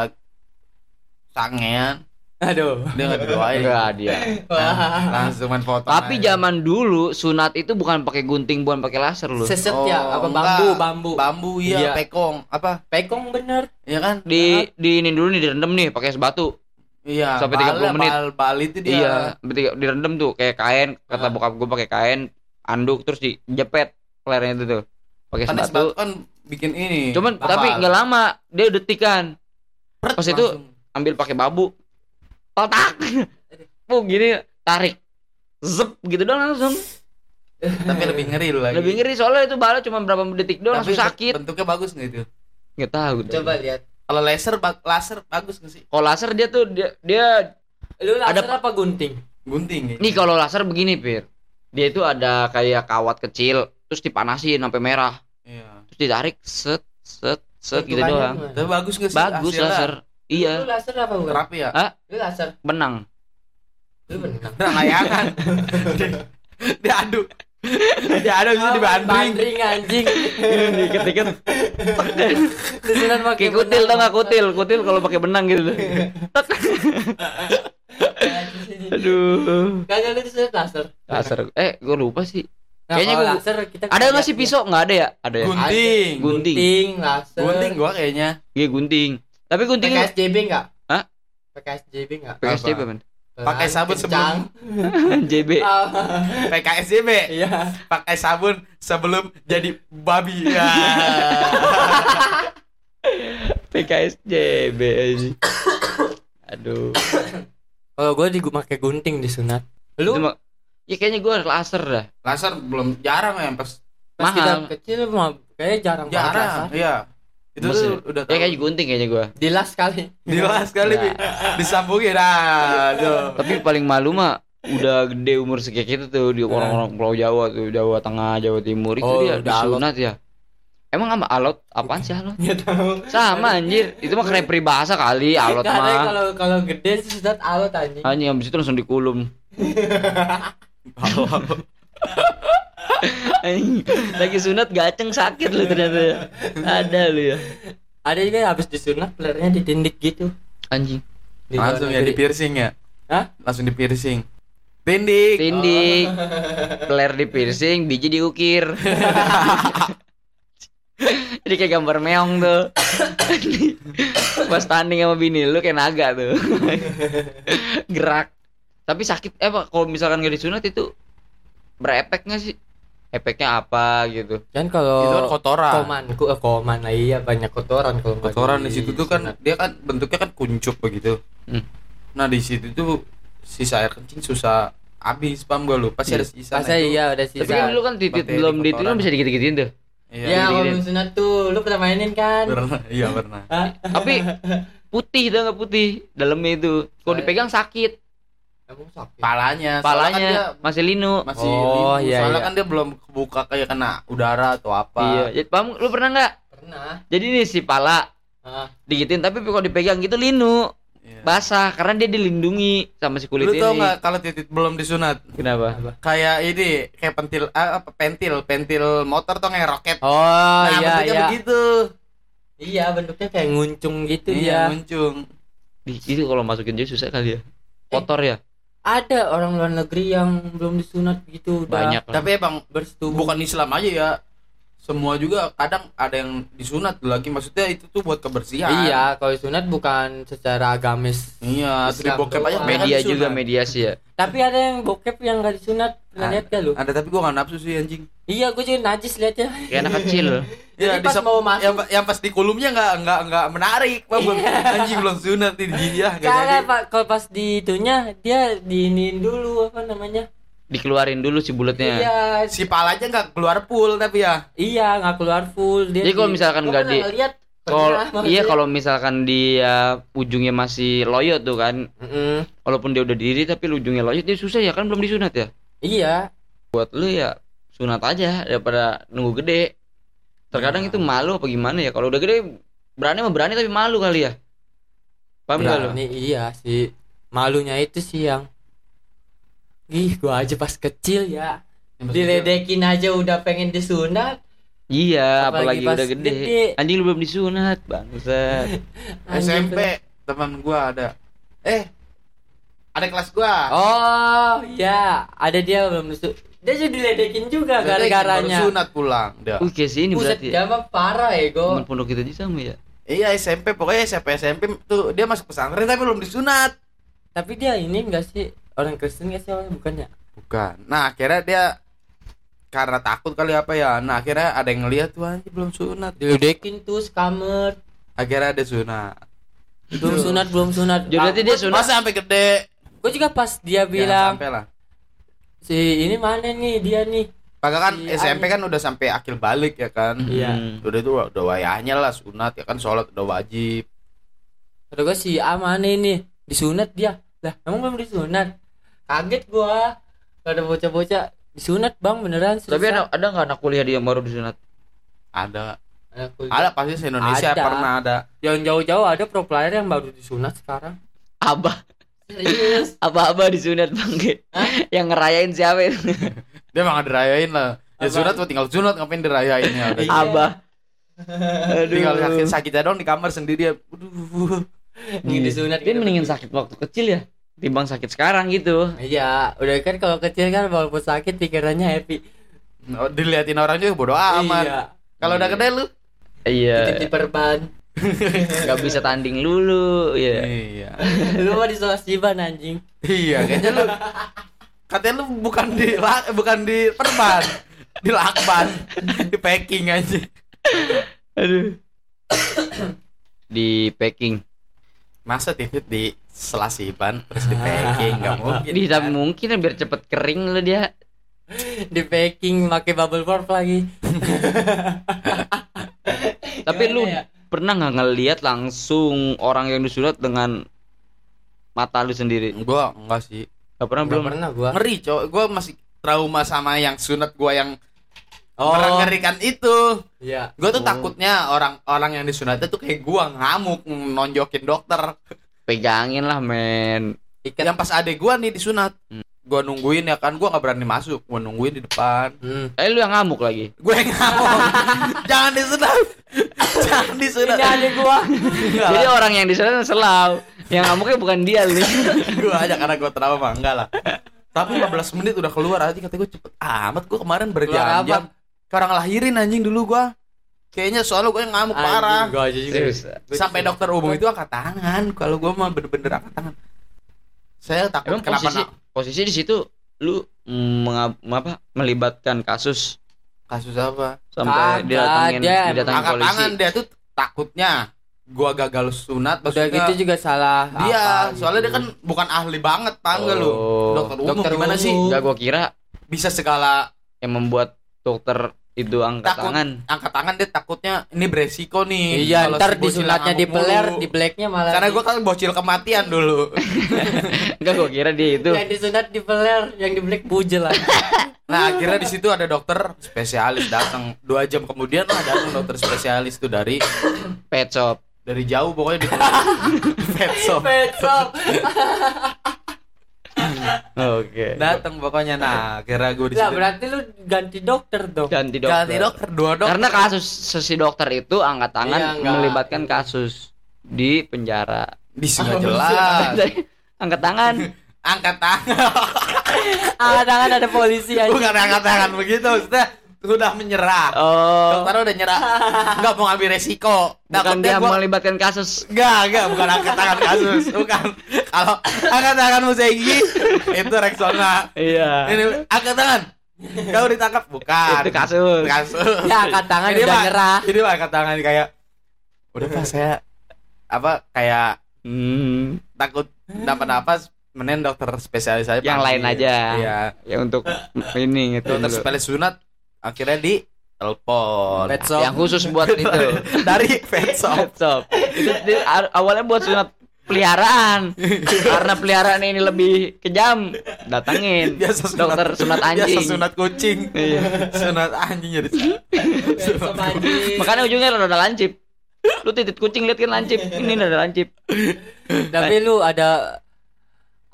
Speaker 1: sangean
Speaker 4: aduh.
Speaker 1: dia nggak didoain
Speaker 3: enggak dia
Speaker 1: Nah, Iya. langsung main foto
Speaker 3: tapi
Speaker 1: aja.
Speaker 3: zaman dulu sunat itu bukan pakai gunting bukan pakai laser loh
Speaker 4: Seset ya
Speaker 1: Oh,
Speaker 4: apa
Speaker 1: enggak.
Speaker 4: bambu bambu.
Speaker 1: bambu iya
Speaker 4: Iya.
Speaker 1: pekong apa
Speaker 4: Pekong bener.
Speaker 1: iya kan
Speaker 3: di di ini dulu nih direndam nih pakai es batu
Speaker 1: iya
Speaker 3: Sampai
Speaker 1: bal-
Speaker 3: 30 menit.
Speaker 1: bal, bal itu dia
Speaker 3: iya bertiga direndam tuh kayak kain kata bokap gue pakai kain anduk terus dijepet kelernya itu tuh pakai
Speaker 1: kan es
Speaker 3: sepatu
Speaker 1: batu kan bikin ini
Speaker 3: cuman tapi nggak lama dia detikan pas itu ambil pakai babu otak pu gini tarik zep gitu doang langsung
Speaker 1: tapi lebih ngeri lu lagi
Speaker 3: lebih ngeri soalnya itu bala cuma berapa detik doang
Speaker 1: tapi
Speaker 3: langsung sakit
Speaker 1: bentuknya bagus nggak itu
Speaker 3: nggak tahu dah.
Speaker 4: Coba lihat.
Speaker 1: kalau laser ba- laser bagus nggak sih
Speaker 3: kalau laser dia tuh dia, dia
Speaker 4: Lu
Speaker 3: Ada
Speaker 4: laser apa gunting?
Speaker 1: gunting ya?
Speaker 3: Nih kalau laser begini, Pir. Dia itu ada kayak kawat kecil, terus dipanasin sampai merah,
Speaker 1: iya
Speaker 3: terus ditarik set set set gitu
Speaker 4: Bentukannya
Speaker 3: doang.
Speaker 4: kan gimana?
Speaker 1: tapi bagus nggak sih
Speaker 3: Bagus
Speaker 1: hasilnya?
Speaker 3: laser. Iya,
Speaker 4: Lu laser apa bukan?
Speaker 1: rapi ya
Speaker 4: Lu laser.
Speaker 3: menang.
Speaker 4: Lu bener.
Speaker 1: nah layangan Dia- dia adu dia adu bisa dibanding
Speaker 4: Bandring anjing.
Speaker 3: Diketikin.
Speaker 4: Disunat pakai
Speaker 3: Kayak kutil
Speaker 4: benang.
Speaker 3: tau gak kutil? Kutil kalau pakai benang gitu. Tek. Aduh.
Speaker 4: Kagak lu disunat laser.
Speaker 3: Laser. Eh, gue lupa sih.
Speaker 4: Nah,
Speaker 3: Kayaknya
Speaker 4: kalau
Speaker 3: gua-
Speaker 4: laser kita
Speaker 3: Ada nggak sih pisau? Nggak ada ya? Ada ya?
Speaker 1: Gunting.
Speaker 3: Gunting.
Speaker 4: gunting, laser.
Speaker 1: gunting gua kayaknya
Speaker 3: Iya gunting. Tapi gunting
Speaker 4: PKSJB enggak?
Speaker 3: Hah?
Speaker 4: PKSJB enggak?
Speaker 3: PKSJB man.
Speaker 1: Pakai sabun
Speaker 4: Kencang. Oh,
Speaker 3: JB.
Speaker 1: PKSJB
Speaker 4: Iya.
Speaker 1: pakai sabun sebelum jadi babi ya
Speaker 3: PKSJB. Aduh.
Speaker 4: Kalau gue di pakai gunting disunat.
Speaker 3: Lu Ya kayaknya gue laser dah.
Speaker 1: laser belum jarang ya pas
Speaker 4: Pas kita
Speaker 3: Mahal.
Speaker 4: kecil mah kayaknya jarang banget
Speaker 1: jarang
Speaker 4: laser.
Speaker 1: iya itu
Speaker 3: Mesin.
Speaker 1: tuh udah
Speaker 3: Ya
Speaker 1: tahu.
Speaker 3: kayaknya gunting kayaknya gua.
Speaker 4: Dilas kali.
Speaker 1: Dilas kali
Speaker 3: Nah.
Speaker 1: Bi. disambungin Ah, dah tuh.
Speaker 3: Tapi paling malu mah udah gede umur sekian gitu tuh di orang-orang Pulau Jawa tuh, Jawa Tengah, Jawa Timur itu
Speaker 4: Oh,
Speaker 3: dia
Speaker 4: udah
Speaker 3: disunat ya. Emang sama alot apaan sih alot?
Speaker 4: Enggak tahu.
Speaker 3: Sama anjir, itu mah keren peribahasa kali alot
Speaker 4: Karena
Speaker 3: mah.
Speaker 4: kalau kalau gede sih sunat alot anjing.
Speaker 3: Anjing habis itu langsung dikulum. Anjing, Lagi sunat gaceng sakit lu ternyata ya. Ada lu ya.
Speaker 4: Ada juga yang habis disunat pelernya ditindik gitu.
Speaker 3: Anjing. Iya.
Speaker 4: Di luar
Speaker 1: langsung ya
Speaker 4: negeri.
Speaker 1: di piercing ya
Speaker 4: Hah?
Speaker 1: langsung di piercing tindik
Speaker 3: Tindik. Peler di piercing, biji diukir. Jadi kayak gambar meong tuh. Pas tanding sama bini lu kayak naga tuh. Gerak. Tapi sakit eh Pak, kalau misalkan gak disunat itu berefek gak sih? Efeknya apa gitu?
Speaker 4: Kan
Speaker 1: itu kan
Speaker 4: kalau
Speaker 1: kotoran
Speaker 4: koman, ku eh, koman lah iya banyak kotoran kalau nggak
Speaker 1: kotoran di situ tuh kan dia kan bentuknya kan kuncup begitu
Speaker 3: Hmm.
Speaker 1: nah di situ tuh sisa air kencing susah habis paham gak lu pasti ada sisa
Speaker 4: Masa iya udah sisa.
Speaker 3: Tapi kan dulu kan titit
Speaker 1: bakteri
Speaker 3: belum
Speaker 1: kotoran.
Speaker 3: ditit kan bisa dikit-dikitin tuh.
Speaker 1: iya
Speaker 4: Ya,
Speaker 3: Gini-gini.
Speaker 4: kalau sunat tuh lu pernah mainin kan?
Speaker 1: pernah iya pernah
Speaker 4: Hah?
Speaker 3: Tapi putih udah nggak putih dalamnya itu. Kalau dipegang sakit,
Speaker 4: Emang sakit.
Speaker 1: palanya Eh. soalnya kan dia
Speaker 3: palanya masih linu.
Speaker 1: masih
Speaker 4: Oh,
Speaker 1: limu.
Speaker 4: iya,
Speaker 1: soalnya
Speaker 4: iya.
Speaker 1: kan dia belum kebuka kayak kena udara atau apa
Speaker 3: Iya, jadi paham lu pernah nggak?
Speaker 4: Pernah.
Speaker 3: Jadi nih si pala
Speaker 4: Ah,
Speaker 3: digitin tapi kalau dipegang gitu linu
Speaker 1: Iya.
Speaker 3: basah karena dia dilindungi sama si kulit
Speaker 1: lu
Speaker 3: ini.
Speaker 1: tau nggak kalau titik belum disunat
Speaker 3: Kenapa?
Speaker 1: kayak ini kayak pentil ah, apa pentil pentil motor tuh kayak roket nah
Speaker 4: Oh iya
Speaker 1: bentuknya
Speaker 4: iya.
Speaker 1: begitu
Speaker 4: Iya bentuknya kayak nguncung gitu
Speaker 1: Iya,
Speaker 4: dia.
Speaker 1: muncung.
Speaker 3: Di- itu kalau masukin jadi susah kali ya kotor ya
Speaker 4: Ada orang luar negeri yang belum disunat gitu udah
Speaker 3: banyak lah.
Speaker 1: Tapi emang
Speaker 4: bersetubuh.
Speaker 1: bukan Islam aja ya. Semua juga kadang ada yang disunat lagi maksudnya itu tuh buat kebersihan.
Speaker 4: Iya, kalau sunat bukan secara agamis.
Speaker 1: Iya,
Speaker 4: Islam
Speaker 1: tri bokep
Speaker 4: doang.
Speaker 1: aja mereka
Speaker 3: media
Speaker 1: disunat.
Speaker 3: juga mediasi ya
Speaker 4: Tapi ada yang bokep yang gak disunat. Pernah
Speaker 1: Ah.
Speaker 4: lihat gak lu?
Speaker 1: Ada tapi gua gak nafsu sih anjing.
Speaker 4: Iya, gue juga najis liatnya.
Speaker 3: kayak anak kecil
Speaker 1: Ya,
Speaker 4: Jadi pas
Speaker 1: disep-
Speaker 4: mau masuk-
Speaker 1: yang, pa- yang pas di kolomnya nggak nggak nggak menarik, Pak. Belum- anjing belum sunat nih di dia. nggak
Speaker 4: Kagak
Speaker 1: jadi.
Speaker 4: pak, kalau pas di itunya dia diinin dulu apa namanya?
Speaker 3: dikeluarin dulu si bulatnya
Speaker 4: Iya,
Speaker 1: Si palanya nggak keluar pool tapi ya.
Speaker 4: iya nggak keluar full dia.
Speaker 3: Jadi kalau misalkan nggak di-
Speaker 4: lihat
Speaker 3: kalau iya kalau misalkan dia ujungnya masih loyot tuh kan walaupun dia udah diri tapi ujungnya loyot dia susah ya kan belum disunat ya
Speaker 4: iya
Speaker 3: buat lu ya sunat aja daripada nunggu gede terkadang
Speaker 4: Hmm.
Speaker 3: itu malu apa gimana ya kalau udah gede berani mah berani tapi malu kali ya paham gak lu
Speaker 4: ini iya sih malunya itu sih yang ih gua aja pas kecil ya diledekin aja udah pengen disunat
Speaker 3: iya apalagi,
Speaker 4: Apalagi pas
Speaker 3: udah gede.
Speaker 4: gede.
Speaker 3: anjing lu belum disunat bangsat
Speaker 1: SMP teman gua ada. Eh, ada kelas gua.
Speaker 4: oh ya ada dia belum disu- dia jadi diledekin juga gara-garanya
Speaker 1: sunat pulang dia.
Speaker 3: Wih kayak sini
Speaker 4: Buset,
Speaker 3: berarti ya
Speaker 4: dia mah parah
Speaker 3: teman
Speaker 4: ego
Speaker 3: pondok kita aja sama ya
Speaker 1: Iya SMP pokoknya SMP SMP tuh dia masuk pesantren tapi belum disunat.
Speaker 4: tapi dia ini enggak sih orang Kristen nggak sih orang ya? bukannya
Speaker 1: Bukan. Nah akhirnya dia karena takut kali apa ya. Nah akhirnya ada yang ngeliat tuh anjing belum sunat.
Speaker 4: diledekin tuh skamer
Speaker 1: Akhirnya ada sunat.
Speaker 4: belum sunat belum sunat
Speaker 3: Gitu. Jadi berarti dia sunat
Speaker 1: Masa sampai gede?
Speaker 4: gue juga pas dia
Speaker 1: Jangan
Speaker 4: bilang
Speaker 1: sampai lah.
Speaker 4: si ini mana nih dia nih
Speaker 1: Kagak kan
Speaker 4: Si
Speaker 1: SMP kan udah sampai akil balik ya kan.
Speaker 4: Iya.
Speaker 3: Hmm.
Speaker 1: Udah itu udah wayahnya lah sunat ya kan sholat udah wajib.
Speaker 4: kata gue si A mana ini disunat dia lah emang belum disunat kaget gua ada bocah-bocah disunat bang beneran
Speaker 3: tapi ada ada nggak anak kuliah dia yang baru disunat
Speaker 1: Ada.
Speaker 4: ada
Speaker 1: Ada pasti se Indonesia
Speaker 4: Ada.
Speaker 1: pernah ada.
Speaker 4: Nah, yang jauh-jauh ada pro player yang baru disunat sekarang
Speaker 3: abah
Speaker 4: serius
Speaker 3: abah-abah disunat bangke yang ngerayain siapa itu
Speaker 1: Dia emang nggak dirayain lah. Ya
Speaker 4: Apa?
Speaker 1: sunat mah tinggal sunat ngapain dirayainnya.
Speaker 4: Iya.
Speaker 3: abah Aduh.
Speaker 1: tinggal sakit sakitnya dong di kamar sendiri ya. Aduh.
Speaker 4: Ini disunat
Speaker 3: dia
Speaker 4: gitu.
Speaker 3: mendingin sakit waktu kecil ya timbang sakit sekarang gitu
Speaker 4: iya udah kan kalau kecil kan walaupun sakit pikirannya happy
Speaker 1: Oh, diliatin orang juga bodo amat.
Speaker 4: iya
Speaker 1: Kalau udah gede lu.
Speaker 3: iya
Speaker 4: titip perban
Speaker 3: nggak bisa tanding dulu ya
Speaker 1: Iya.
Speaker 4: lu mah di Solasiban anjing
Speaker 1: iya, kayaknya lu katanya lu bukan di la- bukan di perban, di lakban, di packing aja.
Speaker 3: aduh di packing
Speaker 1: Masa titit di selasiban terus di packing nggak mungkin.
Speaker 3: Jadi tapi mungkin ya biar cepet kering lah dia
Speaker 4: di packing pakai bubble wrap lagi
Speaker 3: Tapi
Speaker 4: Gimana
Speaker 3: lu
Speaker 4: ya?
Speaker 3: pernah nggak ngelihat langsung orang yang disunat dengan mata lu sendiri?
Speaker 1: Gua enggak sih.
Speaker 3: Gak pernah
Speaker 4: Nggak
Speaker 3: belum?
Speaker 4: pernah gua
Speaker 1: Ngeri, cowok. Gua masih trauma sama yang sunat gua yang
Speaker 4: oh
Speaker 1: mengerikan itu.
Speaker 4: iya
Speaker 1: Gua tuh takutnya orang-orang yang disunatnya tuh kayak gua ngamuk nonjokin dokter.
Speaker 3: Pegangin lah men.
Speaker 4: ikat Hmm.
Speaker 1: Yang pas adek gua nih disunat. Gua nungguin ya kan gua nggak berani masuk. Gua nungguin di depan.
Speaker 4: Hmm.
Speaker 3: Eh lu yang ngamuk lagi.
Speaker 1: Gue yang ngamuk. Jangan disunat. Jangan disunat.
Speaker 4: Ini adik gua.
Speaker 1: Enggak
Speaker 3: Jadi
Speaker 1: lah.
Speaker 3: orang yang disunat selau. Yang ngamuknya bukan dia lu.
Speaker 1: Gua aja karena gua trauma enggak lah. Tapi 15 menit udah keluar aja kata gua cepet amat gua kemarin
Speaker 4: Keluar apa?
Speaker 1: berjam-jam. Kayak orang lahirin anjing dulu gua. Kayaknya soalnya gua yang ngamuk parah.
Speaker 4: Anjing, Gua aja juga.
Speaker 3: Serius.
Speaker 1: Sampai dokter umum itu angkat tangan. Kalau gua mah bener-bener angkat tangan. Saya takut
Speaker 3: Emang
Speaker 1: kenapa
Speaker 3: posisi
Speaker 1: nak-
Speaker 3: posisi di situ lu menga- apa melibatkan kasus
Speaker 1: kasus apa?
Speaker 3: sampai
Speaker 4: Kagak,
Speaker 3: didatengin
Speaker 4: dia emang
Speaker 3: didatengin
Speaker 1: Angkat
Speaker 3: polisi.
Speaker 1: tangan dia tuh takutnya gua gagal sunat
Speaker 4: Udah
Speaker 1: maksudnya
Speaker 4: gitu juga salah.
Speaker 1: dia
Speaker 4: apa gitu.
Speaker 1: soalnya dia kan bukan ahli banget tangga lu
Speaker 3: Oh.
Speaker 1: dokter umum
Speaker 4: Dokter
Speaker 1: gimana
Speaker 4: umum.
Speaker 1: sih
Speaker 3: Enggak gua kira
Speaker 1: bisa segala
Speaker 3: yang membuat dokter itu angkat
Speaker 1: Takut.
Speaker 3: tangan.
Speaker 1: angkat tangan dia takutnya ini beresiko nih
Speaker 4: Iya,
Speaker 1: kalau
Speaker 4: ntar
Speaker 1: si bocil
Speaker 4: disunatnya
Speaker 1: ngamuk
Speaker 4: di peler,
Speaker 1: mulu.
Speaker 4: di blacknya malah.
Speaker 1: karena
Speaker 4: di-
Speaker 1: gua kan bocil kematian dulu
Speaker 3: Enggak gua kira dia itu.
Speaker 1: Iya.
Speaker 4: yang disunat di peler, yang di black bujel lah.
Speaker 1: nah akhirnya di situ ada dokter spesialis datang dua jam kemudian lah datang dokter spesialis tuh dari
Speaker 3: Pet shop.
Speaker 1: dari jauh pokoknya di pet shop
Speaker 4: Pet shop.
Speaker 3: Oke.
Speaker 1: datang pokoknya nah kira gue di
Speaker 4: Lah
Speaker 1: situ.
Speaker 4: berarti lu ganti dokter dong.
Speaker 1: Ya.
Speaker 3: Ganti dokter.
Speaker 1: ganti dokter dua dokter
Speaker 3: Karena kasus sesi dokter itu angkat tangan
Speaker 4: Iya, enggak.
Speaker 3: melibatkan kasus di penjara.
Speaker 1: di sini jelas
Speaker 3: angkat tangan.
Speaker 1: angkat tangan
Speaker 4: Ah, tangan ada polisi aja.
Speaker 1: bukan angkat tangan begitu maksudnya sudah menyerah
Speaker 3: Oh.
Speaker 1: dokter udah nyerah nggak mau ambil resiko
Speaker 3: Bukan dia
Speaker 1: takutnya gua
Speaker 3: melibatkan kasus.
Speaker 1: Enggak, enggak, bukan angkat tangan kasus, bukan. Kalau angkat tangan Musegi itu Rexona.
Speaker 3: Iya.
Speaker 1: Ini kan. angkat tangan. Kau ditangkap bukan?
Speaker 3: Itu kasus.
Speaker 1: Kasus.
Speaker 4: Ya angkat tangan
Speaker 1: Ini
Speaker 4: udah
Speaker 1: mah-
Speaker 4: nyerah.
Speaker 1: Ini mah angkat tangan kayak udah pas saya apa kayak
Speaker 3: Hmm.
Speaker 1: takut dapat napas menen dokter spesialis saya
Speaker 3: Yang lain aja.
Speaker 1: Iya.
Speaker 3: Ya untuk ini itu.
Speaker 1: Dokter
Speaker 3: dulu.
Speaker 1: spesialis sunat akhirnya di telepon
Speaker 4: Pet shop.
Speaker 3: Yang khusus buat itu.
Speaker 1: dari fanshop.
Speaker 3: Stop. Itu di- a- awalnya buat sunat peliharaan. Karena peliharaan ini lebih kejam, datangin
Speaker 1: Biasa sunat-
Speaker 3: dokter sunat anjing.
Speaker 1: Biasa sunat kucing.
Speaker 3: Iya.
Speaker 1: sunat anjing jadi
Speaker 4: Besok anjing.
Speaker 3: Makanya ujungnya rada lancip. Lu titit kucing lihat kan lancip. Ini rada lancip.
Speaker 4: Tapi lu ada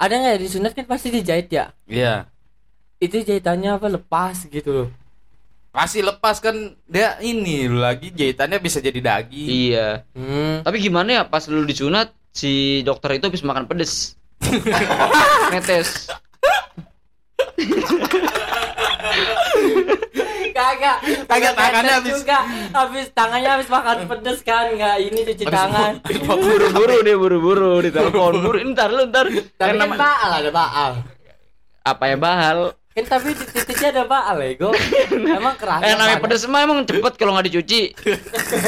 Speaker 4: ada nggak ya disunat kan pasti dijahit ya.
Speaker 1: Iya.
Speaker 4: Itu jahitannya apa lepas gitu loh.
Speaker 1: Masih lepas kan dia ini lagi jahitannya bisa jadi daging.
Speaker 3: Iya.
Speaker 4: Hmm.
Speaker 3: Tapi gimana ya pas lu disunat si dokter itu habis makan pedes. Netes.
Speaker 4: Kagak.
Speaker 1: Kagak, tangannya
Speaker 4: habis
Speaker 1: habis.
Speaker 4: juga. Habis tangannya habis makan pedes kan nggak ini cuci tangan.
Speaker 3: Buru-buru dia buru-buru di telepon. Buru, ini ntar lu ntar.
Speaker 4: Tapi kan
Speaker 3: Karena-
Speaker 4: baal ada baal.
Speaker 3: apa ya bahal?
Speaker 4: Kan tapi di titiknya ada baal Lego. Emang keras.
Speaker 3: Eh namanya pedes mah emang cepet kalau nggak dicuci.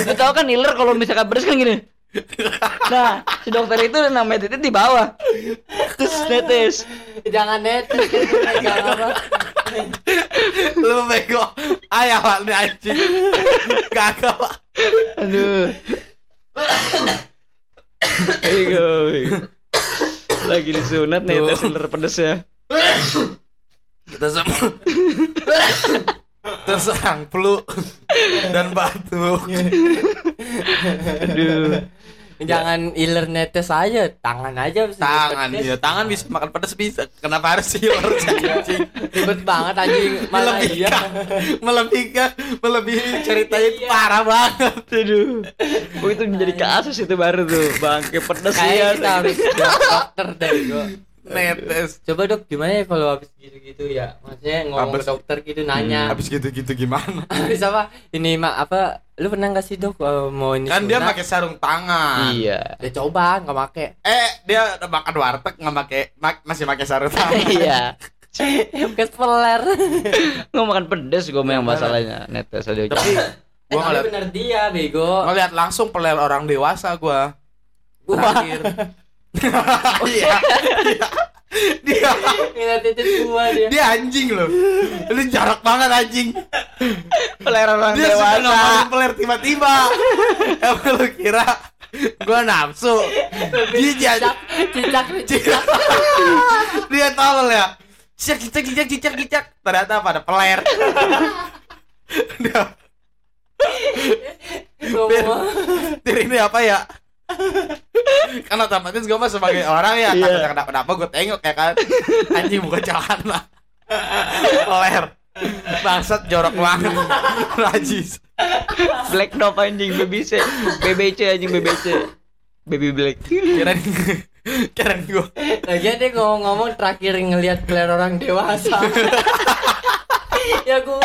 Speaker 3: Lu tahu kan iler kalau misalkan pedes kan gini. Nah, si dokter itu namanya titik di bawah. Terus netes.
Speaker 4: Jangan netes. Jangan apa.
Speaker 1: Lu bego. Ayah Pak, ini anjing. Kagak Pak.
Speaker 3: Aduh. Ego. Lagi disunat netes iler pedes ya.
Speaker 1: Kita semua terserang flu dan batuk.
Speaker 3: Aduh.
Speaker 4: Jangan iler netes aja. Tangan aja. habis
Speaker 1: Tangan
Speaker 4: pedes.
Speaker 1: ya, tangan bisa makan pedas bisa. Kenapa harus sih harus
Speaker 4: Iya.
Speaker 1: anjing?
Speaker 4: Ribet banget anjing. Malah iya.
Speaker 1: Melebihkan, melebihkan, melebihi ceritanya itu parah banget.
Speaker 3: Aduh. Oh, itu menjadi kasus itu baru tuh. Bangke pedes
Speaker 4: Kayaknya
Speaker 3: ya.
Speaker 4: kita harus dokter deh Go.
Speaker 1: Netes.
Speaker 4: Coba dok gimana ya kalau habis gitu-gitu ya Maksudnya ngomong
Speaker 1: Habis- Hmm.
Speaker 4: ke dokter gitu nanya
Speaker 1: Habis gitu-gitu gimana?
Speaker 4: Habis apa ini mak apa Lu pernah gak sih dok eh, mau ini
Speaker 1: Kan dia
Speaker 4: sunat?
Speaker 1: pakai sarung tangan.
Speaker 3: Iya.
Speaker 4: Ya coba gak make
Speaker 1: Eh, dia udah makan warteg nggak pakai mak- masih pakai sarung tangan.
Speaker 3: Iya.
Speaker 4: Kes peler
Speaker 3: Nggak makan pedes gue yang masalahnya netes aja.
Speaker 1: Tapi
Speaker 4: Eh
Speaker 1: gua
Speaker 4: tapi
Speaker 1: ngeliat
Speaker 4: bener dia bego
Speaker 1: ngeliat langsung peler orang dewasa gua.
Speaker 4: Wah
Speaker 1: Terakhir. Iya. iya. Dia
Speaker 4: Ngeliat titik gua dia
Speaker 1: dia anjing loh. Lu jarak banget anjing.
Speaker 3: Peleran orang
Speaker 1: Dia suka ngomongin peler tiba-tiba. Emang lu kira gua nafsu? Dia
Speaker 4: Cicak Cicak
Speaker 1: cicak. Dia tolol ya. Cicak cicak cicak cicak cicak. Ternyata pada peler. Dia
Speaker 4: Semua
Speaker 1: Tir ini apa ya? kan otomatis gue mah sebagai orang ya
Speaker 3: Iya.
Speaker 1: takut kenapa kenapa gue tengok ya kan anjing buka celana ler bangsat jorok banget najis
Speaker 3: Black Dove anjing BBC. BBC anjing BBC. Baby Black.
Speaker 1: keren keren gue
Speaker 4: Lagian dia ngomong-ngomong terakhir ngelihat peler orang dewasa Ya gua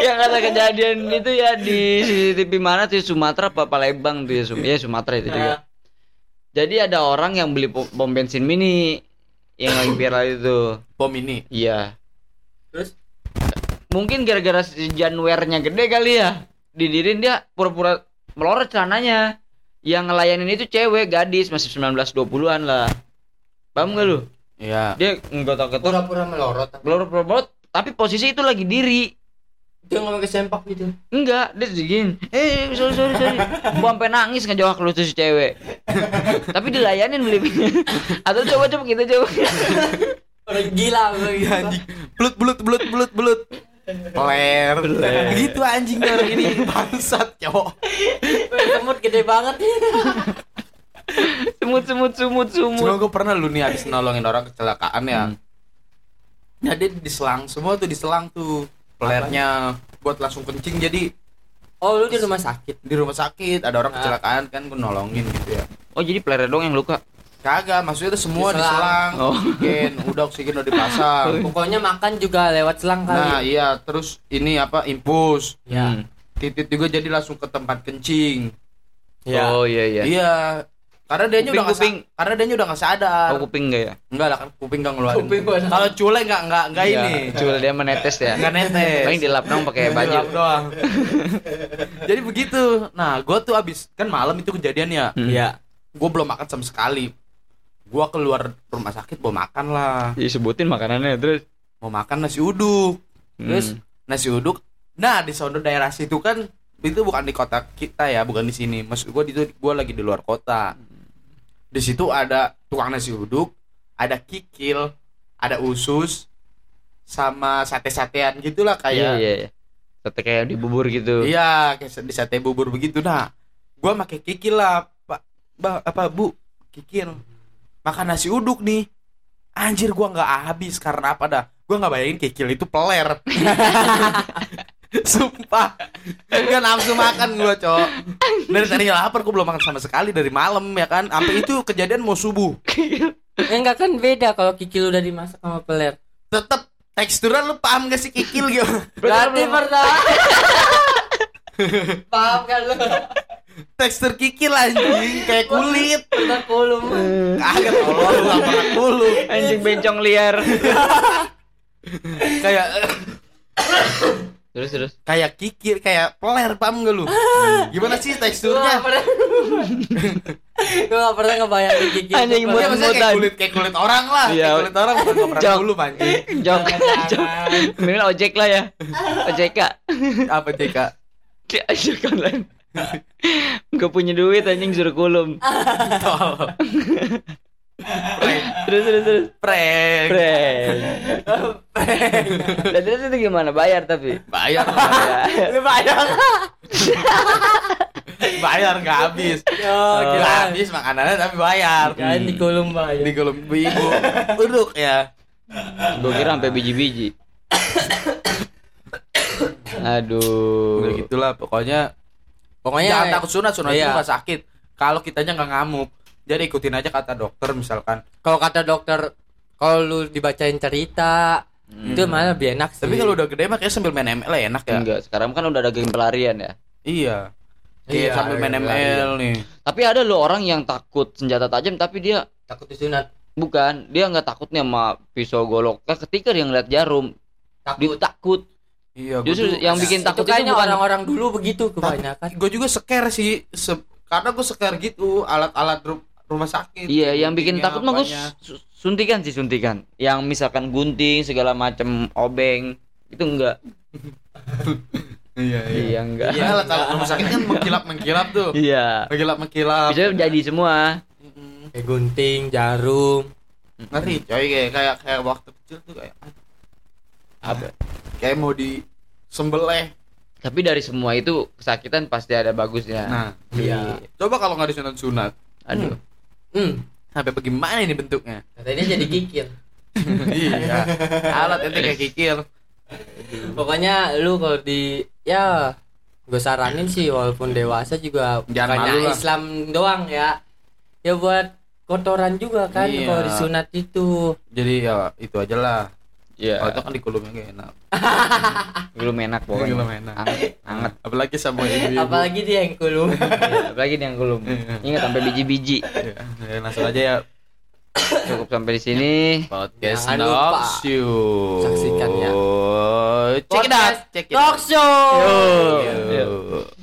Speaker 3: yang ada Ya, kejadian itu ya di CCTV mana tuh Sumatera apa Palembang tuh ya, Sum ya Sumatera itu
Speaker 4: Nah, Ah.
Speaker 3: juga. Jadi ada orang yang beli pom pom bensin mini yang lagi viral itu.
Speaker 1: bom ini
Speaker 3: Iya.
Speaker 4: Terus
Speaker 3: Mungkin gara-gara si Januarnya gede kali ya. Didirin dia pura-pura melorot celananya. Yang ngelayanin itu cewek gadis masih 19-20-an lah. Paham gak lu?
Speaker 1: ya
Speaker 3: Dia ngegotok-gotok
Speaker 4: pura-pura melorot
Speaker 3: melorot-melorot tapi posisi itu lagi diri.
Speaker 4: dia ngomong ke sempak gitu
Speaker 3: Enggak, dia tuh gini. Eh, sorry sorry sorry. Gua sampai nangis ngejawab lu tuh si cewek. Tapi dilayanin beli Atau coba coba kita coba.
Speaker 4: orang gila gitu.
Speaker 1: Iya,
Speaker 4: orang gila.
Speaker 1: anjing belut belut belut belut belut ler gitu anjing tuh orang ini bangsat cowok
Speaker 4: Semut gede banget
Speaker 3: Sumut sumut sumut
Speaker 1: Cuma
Speaker 3: sumut.
Speaker 1: gue pernah lu nih habis nolongin orang kecelakaan ya. Nah dia diselang semua tuh diselang tuh pelernya buat langsung kencing jadi
Speaker 4: Oh lu di rumah sakit.
Speaker 1: di rumah sakit ada orang
Speaker 4: Ah.
Speaker 1: kecelakaan kan gue nolongin gitu ya.
Speaker 3: Oh jadi player dong yang luka.
Speaker 1: Kagak maksudnya tuh semua
Speaker 4: Diselang.
Speaker 1: diselang.
Speaker 3: Oh.
Speaker 1: Oksigen udah oksigen udah dipasang.
Speaker 4: Pokoknya makan juga lewat selang
Speaker 1: Iya. Nah
Speaker 4: kali.
Speaker 1: iya terus ini apa impus
Speaker 4: Ya.
Speaker 3: Hmm.
Speaker 1: titit juga jadi langsung ke tempat kencing.
Speaker 4: Ya.
Speaker 3: Oh iya iya.
Speaker 1: Iya. Karena dia udah nggak
Speaker 3: Kuping,
Speaker 1: sa- karena dia udah nggak sadar.
Speaker 3: Oh kuping enggak ya?
Speaker 1: Enggak lah kan kuping nggak ngeluarin.
Speaker 4: Kuping gua-
Speaker 1: Kalau cule nggak nggak nggak
Speaker 3: Iya,
Speaker 1: Nah, ini.
Speaker 3: Cuma dia menetes ya.
Speaker 1: Nggak netes.
Speaker 3: Paling dilap dong pakai
Speaker 1: Dilap
Speaker 3: baju.
Speaker 1: doang. Jadi begitu. Nah, gue tuh abis kan malam itu kejadiannya.
Speaker 3: Hmm.
Speaker 4: Ya.
Speaker 1: Gue belum makan sama sekali. Gue keluar rumah sakit mau makan lah.
Speaker 3: Iya sebutin makanannya terus.
Speaker 1: Mau makan nasi uduk.
Speaker 4: Terus?
Speaker 3: Hmm.
Speaker 1: Nasi uduk. Nah, di sono daerah situ kan itu bukan di kota kita ya, bukan di sini. Maksud gue itu gue lagi di luar kota. Di situ ada tukang nasi uduk, ada kikil, ada usus, sama sate-satean gitulah kayak.
Speaker 3: Iya iya iya. Sate kayak di bubur
Speaker 1: ah,
Speaker 3: gitu.
Speaker 1: Iya, kayak sa- di sate bubur begitu. Nah, gua pakai kikil lah, Pak. Ba, apa Bu? Kikil. Makan nasi uduk nih. Anjir gua nggak habis karena apa dah? Gua nggak bayangin kikil itu peler. Sumpah. Gak nafsu makan gua, Cok. Dari tadi lapar gua belum makan sama sekali dari malam ya kan. Sampai itu kejadian mau subuh. Hmm.
Speaker 4: Eh, Enggak kan beda kalau kikil udah dimasak sama peler.
Speaker 1: Tetep teksturnya lu paham gak sih kikil gitu?
Speaker 4: Berarti pertama. Paham kan lu?
Speaker 1: Tekstur kikil anjing kayak kulit.
Speaker 4: Pertama kulum.
Speaker 1: Kagak tolong lu nggak pernah dulu.
Speaker 3: Anjing bencong liar.
Speaker 1: kayak
Speaker 3: terus terus.
Speaker 1: kayak kikir kayak peler paham gak lu gimana sih
Speaker 4: Gue gak
Speaker 1: teksturnya
Speaker 4: pernah Gue gak pernah ngebayangin kikil
Speaker 3: Anjing,
Speaker 1: Iya
Speaker 4: itu
Speaker 3: buat-
Speaker 4: peler.
Speaker 1: maksudnya kayak
Speaker 3: Mutan.
Speaker 1: kulit kayak kulit orang lah
Speaker 3: Iya.
Speaker 1: kayak kulit orang bukan koperan
Speaker 3: Jok.
Speaker 1: dulu anjing
Speaker 3: Jok. Jok. Mendingan ojek lah ya. Ojek kak.
Speaker 1: apa JK
Speaker 3: Dia ojek online. Gak punya duit anjing suruh kulum.
Speaker 1: Tolong.
Speaker 3: Terus terus terus.
Speaker 1: prank
Speaker 3: Prank. Dan terus itu gimana? Bayar tapi.
Speaker 1: bayar
Speaker 4: Lu bayang
Speaker 1: bayar nggak habis
Speaker 4: Ya
Speaker 1: nggak
Speaker 4: kira
Speaker 1: habis makanannya tapi bayar
Speaker 4: Kan di kulum bayang
Speaker 1: di kolom ibu uduk ya
Speaker 3: Gue kira sampai biji-biji. Aduh.
Speaker 1: udah gitulah pokoknya
Speaker 4: Pokoknya
Speaker 1: jangan takut sunat sunat itu
Speaker 4: Iya.
Speaker 1: nggak sakit kalau kitanya nggak ngamuk jadi ikutin aja kata dokter misalkan
Speaker 4: Kalau kata dokter Kalau lu dibacain cerita
Speaker 3: Hmm.
Speaker 4: Itu malah lebih enak sih
Speaker 1: Hmm. tapi kalau udah gede mah kayaknya sambil main ML ya enak ya
Speaker 3: Iya. Enggak, sekarang kan udah ada game pelarian ya.
Speaker 1: iya kayak
Speaker 4: Iya,
Speaker 1: sambil main
Speaker 3: iya,
Speaker 1: ML nih
Speaker 3: Tapi ada loh orang yang takut senjata tajam tapi dia
Speaker 4: Takut disunat
Speaker 3: bukan, dia nggak takutnya sama pisau golok. Nah, ketika dia ngeliat jarum, dia
Speaker 4: Takut
Speaker 3: takut.
Speaker 1: Iya, gue
Speaker 3: Justru yang bikin
Speaker 4: Itu
Speaker 3: takut itu
Speaker 4: kayaknya
Speaker 3: bukan
Speaker 4: orang-orang dulu begitu kebanyakan
Speaker 1: gue Ah, juga scare sih, se- karena gue scare gitu alat-alat ru- rumah sakit.
Speaker 3: Iya, yang
Speaker 1: Guntingnya,
Speaker 3: bikin takut mah gue
Speaker 1: apanya.
Speaker 3: su- suntikan sih suntikan. Yang misalkan gunting segala macem obeng itu enggak.
Speaker 1: Iya, iya.
Speaker 3: Iya enggak.
Speaker 1: Iya, alat-alat rumah sakit kan mengkilap mengkilap tuh,
Speaker 3: Iya.
Speaker 1: mengkilap mengkilap.
Speaker 3: Bisa jadi semua.
Speaker 4: Kayak gunting, jarum
Speaker 1: Ngeri, coy kayak kayak kayak waktu kecil tuh kayak Ah.
Speaker 3: Apa?
Speaker 1: kayak mau di sembelih.
Speaker 3: Tapi dari semua itu kesakitan pasti ada bagusnya.
Speaker 1: Nah,
Speaker 4: Iya
Speaker 1: coba kalau nggak disunat-sunat,
Speaker 3: Aduh.
Speaker 4: Hmm
Speaker 1: sampai bagaimana ini bentuknya?
Speaker 4: Katanya jadi kikil
Speaker 1: iya, alat itu kayak kikir.
Speaker 4: Pokoknya lu kalau di ya gue saranin sih walaupun dewasa juga
Speaker 1: Jangan
Speaker 4: bukannya
Speaker 1: malu lah.
Speaker 4: Islam doang ya. Ya buat kotoran juga kan
Speaker 1: Iya.
Speaker 4: kalau disunat itu.
Speaker 1: Jadi ya itu aja lah.
Speaker 3: Iya.
Speaker 1: Kalau itu kan di kulumnya gak enak.
Speaker 3: Belum enak pokoknya.
Speaker 1: Belum enak.
Speaker 3: Anget, anget.
Speaker 1: Apalagi sama ibu-ibu.
Speaker 4: Apalagi dia yang kulum.
Speaker 3: Iya, Apalagi nih yang belum.
Speaker 1: Iya.
Speaker 3: Ingat sampai biji-biji.
Speaker 1: Ya, ya, langsung aja ya
Speaker 3: Cukup sampai di sini.
Speaker 1: podcast
Speaker 4: Jangan lupa
Speaker 1: Knocks You.
Speaker 4: saksikan ya.
Speaker 1: Check it out,
Speaker 4: Podcast
Speaker 1: check it
Speaker 4: Talk
Speaker 1: out.
Speaker 4: show.
Speaker 1: Yo.